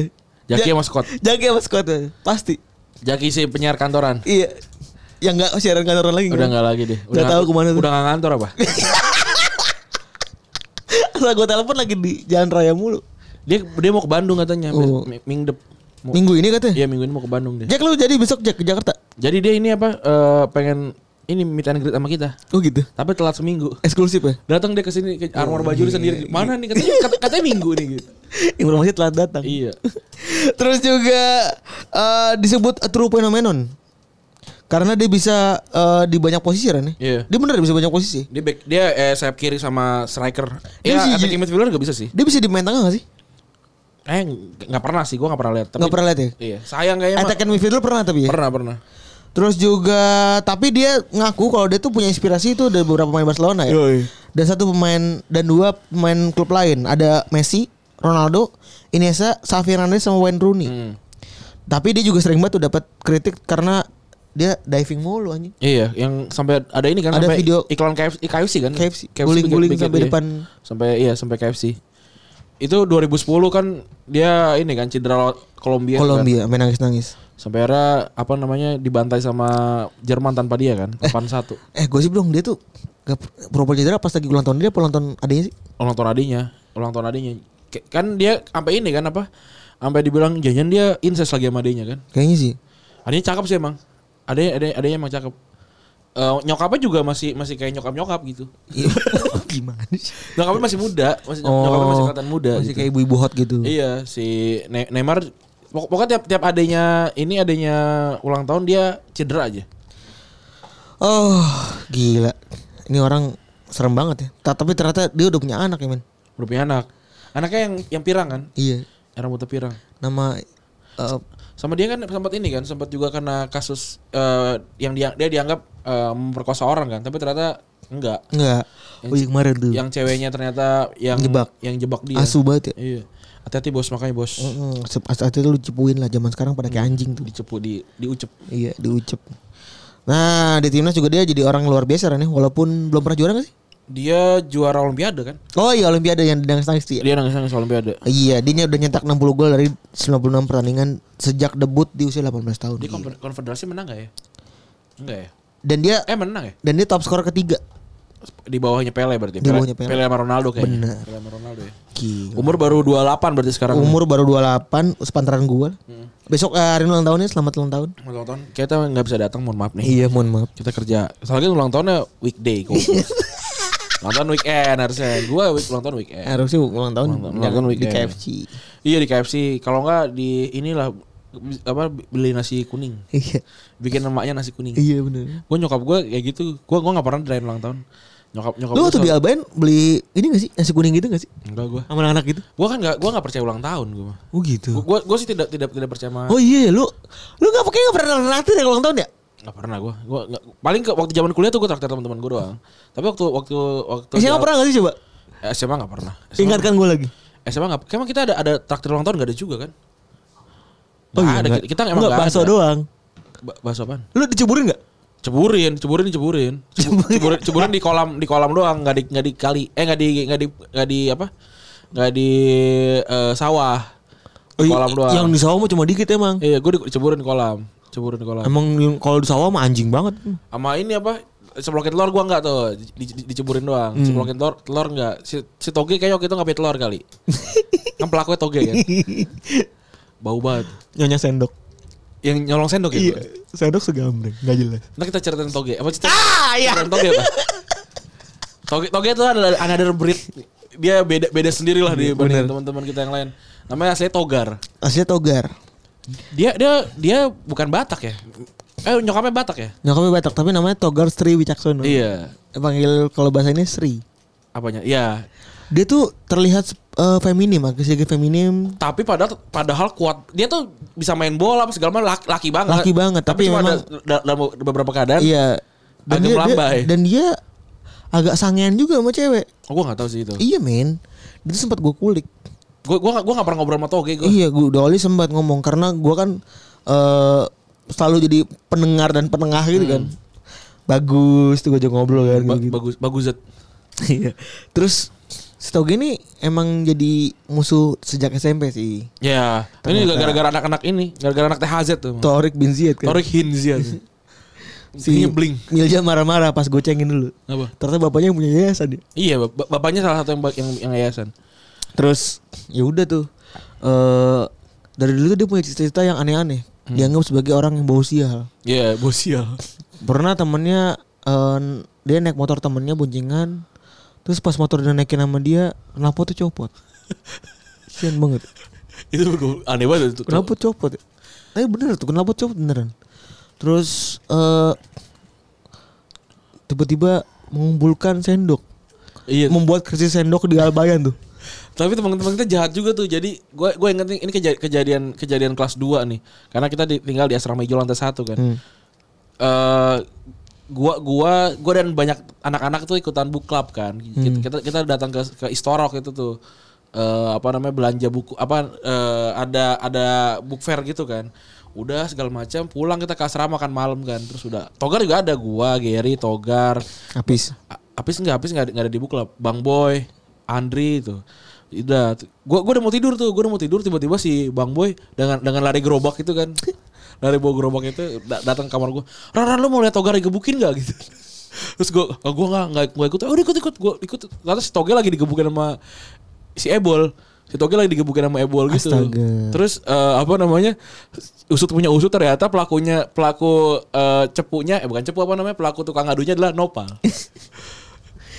[SPEAKER 2] Jaki
[SPEAKER 3] Ja-
[SPEAKER 2] sama Scott.
[SPEAKER 3] Jaki sama Scott pasti.
[SPEAKER 2] Jaki si penyiar kantoran.
[SPEAKER 3] Iya. Yang enggak siaran kantoran lagi.
[SPEAKER 2] Udah nggak lagi deh.
[SPEAKER 3] Nggak tahu kemana tuh.
[SPEAKER 2] Udah nggak ngantor apa?
[SPEAKER 3] Asal gue telepon lagi di jalan raya mulu.
[SPEAKER 2] Dia dia mau ke Bandung katanya.
[SPEAKER 3] Oh.
[SPEAKER 2] Mi- Mingdep. Mau-
[SPEAKER 3] Minggu ini katanya.
[SPEAKER 2] Iya minggu ini mau ke Bandung dia.
[SPEAKER 3] Jack lu jadi besok Jack ke Jakarta.
[SPEAKER 2] Jadi dia ini apa? eh, pengen ini meet and greet sama kita.
[SPEAKER 3] Oh gitu.
[SPEAKER 2] Tapi telat seminggu.
[SPEAKER 3] Eksklusif ya.
[SPEAKER 2] Datang dia ke sini ke
[SPEAKER 3] Oh,
[SPEAKER 2] Armor
[SPEAKER 3] iya,
[SPEAKER 2] Bajuri sendiri. Mana nih katanya kata- katanya minggu nih gitu.
[SPEAKER 3] Informasi telah datang.
[SPEAKER 2] Iya.
[SPEAKER 3] Terus juga eh, disebut a true phenomenon. Karena dia bisa eh, di banyak posisi kan ya.
[SPEAKER 2] Iya.
[SPEAKER 3] Dia bener bisa banyak posisi.
[SPEAKER 2] Dia back, dia eh, sayap kiri sama striker. Ya,
[SPEAKER 3] Dia sih
[SPEAKER 2] attacking
[SPEAKER 3] jadi-
[SPEAKER 2] midfielder gak bisa sih.
[SPEAKER 3] Dia bisa di main tengah gak sih?
[SPEAKER 2] Eh nggak pernah sih, gua nggak pernah lihat. Tapi-
[SPEAKER 3] Nggak pernah lihat ya?
[SPEAKER 2] Iya, sayang kayaknya.
[SPEAKER 3] Attack and midfielder pernah tapi
[SPEAKER 2] Mah.
[SPEAKER 3] ya?
[SPEAKER 2] Pernah pernah.
[SPEAKER 3] Terus juga tapi dia ngaku kalau dia tuh punya inspirasi itu dari beberapa pemain Barcelona ya.
[SPEAKER 4] Yoi.
[SPEAKER 3] Dan satu pemain dan dua pemain klub lain, ada Messi, Ronaldo, Iniesta, Xavi Hernandez sama Wayne Rooney.
[SPEAKER 2] Hmm.
[SPEAKER 3] Tapi dia juga sering banget tuh dapat kritik karena dia diving mulu anjing.
[SPEAKER 2] Iya, yang sampai ada ini kan
[SPEAKER 3] Ada
[SPEAKER 2] sampai
[SPEAKER 3] video-
[SPEAKER 2] iklan KFC, KFC kan.
[SPEAKER 3] KFC,
[SPEAKER 2] bikin-
[SPEAKER 3] guling-guling
[SPEAKER 2] bikin,
[SPEAKER 3] sampai
[SPEAKER 2] iya.
[SPEAKER 3] depan.
[SPEAKER 2] Sampai iya, sampai KFC. Itu 2010 kan dia ini kan cedera lawan Kolombia. kan.
[SPEAKER 3] Kolombia main nangis-nangis.
[SPEAKER 2] Sampai era apa namanya dibantai sama Jerman tanpa dia kan, 8-1.
[SPEAKER 3] Eh gosip dong dia tuh gak proper cedera pas lagi ulang tahun dia apa ulang tahun adanya sih?
[SPEAKER 2] ulang tahun adiknya, ulang tahun adiknya. Ke- Kan dia sampai ini kan apa? Sampai dibilang jangan dia incest lagi sama adiknya kan.
[SPEAKER 3] Kayaknya sih.
[SPEAKER 2] Adanya cakep sih emang. Ada ada adanya emang cakep. Eh, nyokapnya juga masih masih kayak nyokap nyokap gitu.
[SPEAKER 3] Iya. Gimana sih?
[SPEAKER 2] Nyokapnya masih muda, masih
[SPEAKER 3] Oh.
[SPEAKER 2] nyokapnya masih kelihatan muda.
[SPEAKER 3] Masih
[SPEAKER 2] gitu.
[SPEAKER 3] kayak ibu-ibu hot gitu.
[SPEAKER 2] Iya si Ne- Neymar. pok- Pokoknya tiap tiap adanya ini adanya ulang tahun dia cedera aja.
[SPEAKER 3] Oh, gila. Ini orang serem banget ya. Ta- Tapi ternyata dia udah punya anak ya, men.
[SPEAKER 2] Udah punya anak. Anaknya yang yang pirang kan,
[SPEAKER 3] Iya.
[SPEAKER 2] yang rambutnya pirang.
[SPEAKER 3] Nama eh,
[SPEAKER 2] Sama dia kan sempat ini kan, sempat juga kena kasus eh, yang dia dia dianggap eh, memperkosa orang kan, tapi ternyata enggak.
[SPEAKER 3] enggak. Oh, iya kemarin tuh.
[SPEAKER 2] Yang ceweknya ternyata yang
[SPEAKER 3] Jebak.
[SPEAKER 2] yang jebak dia.
[SPEAKER 3] Asu Oh. banget ya.
[SPEAKER 2] Iya. Hati-hati bos makanya bos.
[SPEAKER 3] Heeh. Saat itu lu cepuin lah zaman sekarang pada kayak anjing tuh.
[SPEAKER 2] Dicepu di diucep.
[SPEAKER 3] Iya, diucep. Nah, di timnas juga dia jadi orang luar biasa Ran, ya walaupun belum pernah juara gak sih?
[SPEAKER 2] Dia juara olimpiade kan?
[SPEAKER 3] Oh iya, Olimpiade yang dengan nangis tuh ya.
[SPEAKER 2] Dia nangis nangis olimpiade.
[SPEAKER 3] Iya, dia udah nyetak 60 gol dari 96 pertandingan sejak debut di usia 18 tahun.
[SPEAKER 2] Dia konfer- konfederasi menang gak ya? Enggak ya?
[SPEAKER 3] Dan dia
[SPEAKER 2] Eh menang ya?
[SPEAKER 3] dan dia top skor ketiga.
[SPEAKER 2] Di bawahnya Pele berarti. ya?
[SPEAKER 3] Di bawahnya Pele.
[SPEAKER 2] Pele sama Ronaldo kayaknya.
[SPEAKER 3] Bener. Iya. Um-
[SPEAKER 2] Pele sama Ronaldo ya.
[SPEAKER 3] Gila.
[SPEAKER 2] Umur baru 28 berarti sekarang.
[SPEAKER 3] Umur baru 28, sepantaran gua.
[SPEAKER 2] Hmm.
[SPEAKER 3] Besok eh, hari ulang tahunnya selamat ulang tahun.
[SPEAKER 2] ulang tahun. Kita nggak bisa datang mohon maaf nih.
[SPEAKER 3] Iya, mohon maaf.
[SPEAKER 2] Kita kerja. Soalnya kan ulang tahunnya weekday kok.
[SPEAKER 3] Iya.
[SPEAKER 2] ulang tahun weekend harusnya. Gua week, ulang tahun weekend.
[SPEAKER 3] Harusnya ulang tahun,
[SPEAKER 2] Ulang tahun- ulang tahun kan
[SPEAKER 3] di
[SPEAKER 2] weekend.
[SPEAKER 3] KFC.
[SPEAKER 2] Iya di KFC. Kalau nggak di inilah apa beli nasi kuning.
[SPEAKER 3] Iya.
[SPEAKER 2] Bikin emaknya nasi kuning.
[SPEAKER 3] Iya benar.
[SPEAKER 2] Gue nyokap gue kayak gitu. Gue gua nggak pernah dirayain ulang tahun. Nyokap nyokap
[SPEAKER 3] Lu
[SPEAKER 2] gua
[SPEAKER 3] waktu
[SPEAKER 2] selalu-
[SPEAKER 3] di Albain beli ini gak sih nasi kuning gitu gak sih?
[SPEAKER 2] Enggak gue.
[SPEAKER 3] Sama anak-anak gitu.
[SPEAKER 2] Gue kan nggak gue nggak percaya ulang tahun gue mah.
[SPEAKER 3] Oh gitu.
[SPEAKER 2] Gue gue sih tidak tidak tidak percaya sama
[SPEAKER 3] Oh iya, lu lu nggak pakai nggak pernah nanti ya ulang tahun ya?
[SPEAKER 2] Gak pernah gue. Gua nggak- paling ke waktu zaman kuliah tuh gue traktir teman-teman gue doang. Tapi waktu waktu waktu
[SPEAKER 3] SMA pernah gak sih coba?
[SPEAKER 2] Eh, SMA gak pernah. SMA,
[SPEAKER 3] Ingatkan gue lagi.
[SPEAKER 2] SMA gak. Emang kita ada ada traktir ulang tahun gak ada juga kan?
[SPEAKER 3] Oh
[SPEAKER 2] Nggak
[SPEAKER 3] iya,
[SPEAKER 2] ada.
[SPEAKER 3] nggak.
[SPEAKER 2] Kita emang
[SPEAKER 3] Nggak,
[SPEAKER 2] nggak
[SPEAKER 3] bakso
[SPEAKER 2] ada.
[SPEAKER 3] doang.
[SPEAKER 2] Ba bahasa apaan?
[SPEAKER 3] Lu diceburin gak?
[SPEAKER 2] Ceburin, ceburin, ceburin. Cebu- Ceburin, ceburin di kolam di kolam doang, nggak di nggak di kali. Eh nggak di nggak di nggak di apa? Nggak di eh, sawah. Di kolam doang.
[SPEAKER 3] Oh iya, Yang di sawah mah cuma dikit emang.
[SPEAKER 2] Iya, gue diceburin di kolam. Ceburin di kolam.
[SPEAKER 3] Emang yang- kalau di sawah mah anjing banget.
[SPEAKER 2] Sama ini apa? Seplokin telur gua nggak tuh, di, di- diceburin doang. Seplokin telur, telur nggak. Si, si toge kayaknya waktu itu ngambil telur kali. kan pelakunya toge kan. Bau banget.
[SPEAKER 3] Nyonya sendok.
[SPEAKER 2] Yang nyolong sendok ya.
[SPEAKER 3] Iya,
[SPEAKER 2] Iya.
[SPEAKER 3] sendok segambreng, nggak jelas.
[SPEAKER 2] Nah kita ceritain toge. Apa cerita? Ceritain toge apa? Toge toge itu adalah another breed. Dia beda beda sendiri lah dibanding teman-teman kita yang lain. Namanya aslinya togar.
[SPEAKER 3] Aslinya togar.
[SPEAKER 2] Dia dia dia bukan Batak ya. Eh nyokapnya Batak ya?
[SPEAKER 3] Nyokapnya Batak, tapi namanya Togar Sri Wicaksono.
[SPEAKER 2] Iya.
[SPEAKER 3] Panggil kalau bahasa ini Sri.
[SPEAKER 2] Apanya? Iya.
[SPEAKER 3] Dia tuh terlihat eh, feminim, agak feminim.
[SPEAKER 2] Tapi padahal padahal kuat. Dia tuh bisa main bola apa segala macam laki, laki banget.
[SPEAKER 3] Laki banget, tapi
[SPEAKER 2] cuma
[SPEAKER 3] memang-
[SPEAKER 2] ada da- dalam beberapa keadaan.
[SPEAKER 3] Iya.
[SPEAKER 2] Kan
[SPEAKER 3] Dan
[SPEAKER 2] Agak
[SPEAKER 3] dia, dia,
[SPEAKER 2] melambai.
[SPEAKER 3] dan dia agak sangean juga sama cewek.
[SPEAKER 2] Oh, gua enggak tahu sih itu.
[SPEAKER 3] Iya, men. Dia tuh sempat gue kulik.
[SPEAKER 2] Gua gua nggak- gua enggak pernah ngobrol sama Toge gua.
[SPEAKER 3] Iya, gue Dolly sempat ngomong karena gua kan eh selalu jadi pendengar dan penengah gitu kan. Bagus tuh gue ngobrol kan
[SPEAKER 2] Hmm. Ba-
[SPEAKER 3] gua gitu.
[SPEAKER 2] Bagus bagus Zet.
[SPEAKER 3] Iya. Terus si Toge ini emang jadi musuh sejak SMP sih.
[SPEAKER 2] Ya, ini juga gara-gara anak-anak ini, gara-gara anak THZ tuh.
[SPEAKER 3] Torik bin Ziyad kan.
[SPEAKER 2] Hmm. Torik Hinzian.
[SPEAKER 3] si
[SPEAKER 2] si bling.
[SPEAKER 3] Milja marah-marah pas gocengin dulu.
[SPEAKER 2] Apa?
[SPEAKER 3] Ternyata bapaknya yang punya yayasan ya. dia.
[SPEAKER 2] Iya, bap- bapaknya salah satu yang ba- yang, yang yayasan.
[SPEAKER 3] Terus ya udah tuh. Eh dari dulu tuh dia punya cerita-cerita yang aneh-aneh.
[SPEAKER 2] Hmm.
[SPEAKER 3] Dianggap sebagai orang yang bau sial.
[SPEAKER 2] Iya, bos ya.
[SPEAKER 3] Pernah temennya eh, dia naik motor temennya boncengan. Terus pas motor dia naikin sama dia, kenapa tuh copot? Kesian banget.
[SPEAKER 2] itu gua- aneh banget itu.
[SPEAKER 3] Kenapa copot? ya? Tapi bener tuh kenapa copot beneran. Terus eh tiba-tiba mengumpulkan sendok.
[SPEAKER 2] Iya.
[SPEAKER 3] Membuat krisis sendok di Albayan tuh.
[SPEAKER 2] Tapi teman-teman kita jahat juga tuh. Jadi gue gue inget nih, ini keja- kejadian kejadian kelas 2 nih. Karena kita di- tinggal di asrama hijau lantai satu kan.
[SPEAKER 3] Hmm,
[SPEAKER 2] Eh gua gua gua dan banyak anak-anak tuh ikutan book club kan. Kita kita, kita datang ke ke Istorok itu tuh. Eh, apa namanya belanja buku apa eh, ada ada book fair gitu kan. Udah segala macam pulang kita ke asrama makan malam kan. Terus udah Togar juga ada gua, Gary, Togar,
[SPEAKER 3] Habis.
[SPEAKER 2] A- Apis enggak, Apis enggak, enggak ada di book club. Bang Boy, Andri itu. Udah, t- gua gua udah mau tidur tuh, gua udah mau tidur tiba-tiba si Bang Boy dengan dengan lari gerobak itu kan. lari bawa gerobak itu da- datang ke kamar gua. Ran, Ran, lu mau lihat Togar digebukin enggak gitu. Terus gua "Ah, gua enggak enggak gua ikut. "Ah, Udah ikut ikut gua ikut. Ternyata si Toge lagi digebukin sama si Ebol. Si Toge lagi digebukin sama Ebol gitu.
[SPEAKER 3] Astaga.
[SPEAKER 2] Terus eh, apa namanya? Usut punya usut ternyata pelakunya pelaku eh, cepunya eh bukan cepu apa namanya? Pelaku tukang adunya adalah Nopal.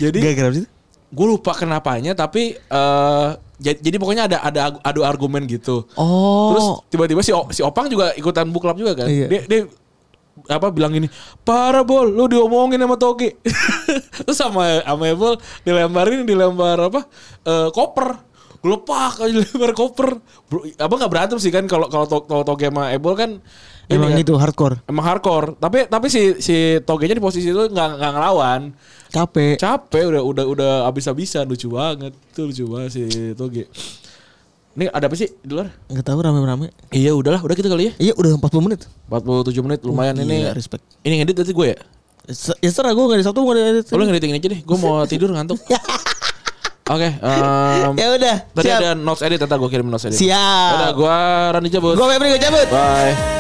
[SPEAKER 2] Jadi
[SPEAKER 3] Gak kenapa sih?
[SPEAKER 2] gue lupa kenapanya tapi eh ja- jadi pokoknya ada ada ag- adu argumen gitu.
[SPEAKER 3] Oh.
[SPEAKER 2] Terus tiba-tiba si O- si Opang juga ikutan book club juga kan.
[SPEAKER 3] Iya.
[SPEAKER 2] Dia, dia apa bilang gini, "Parah Bol, lu diomongin sama Toge." Terus sama sama Ebol dilemparin dilempar apa? Eh koper. Gelepak aja lempar koper. Bro, abang nggak berantem sih kan kalau kalau To- kalau Toge sama Ebol kan ini
[SPEAKER 3] Emang
[SPEAKER 2] kan,
[SPEAKER 3] itu hardcore.
[SPEAKER 2] Emang hardcore. Tapi tapi si si Togenya di posisi itu nggak nggak ngelawan
[SPEAKER 3] Capek.
[SPEAKER 2] capek udah udah udah abis-abisan lucu banget tuh lucu banget sih Toge ini ada apa sih di luar
[SPEAKER 3] Nggak tahu rame-rame.
[SPEAKER 2] iya udahlah udah gitu kali ya
[SPEAKER 3] Iya udah 40 menit.
[SPEAKER 2] 47 menit lumayan
[SPEAKER 3] Gila,
[SPEAKER 2] ini
[SPEAKER 3] respect.
[SPEAKER 2] ini ngedit tadi gue ya
[SPEAKER 3] Se- Ya serah gue nggak ada satu nggak ada. ada-
[SPEAKER 2] lo ngeditin aja deh gue mau tidur ngantuk oke em,
[SPEAKER 3] Ya udah.
[SPEAKER 2] tadi
[SPEAKER 3] siap.
[SPEAKER 2] ada notes edit ntar gue kirim notes edit
[SPEAKER 3] Siap.
[SPEAKER 2] udah gue Randy cabut
[SPEAKER 3] Gue Febri gue cabut.
[SPEAKER 2] bye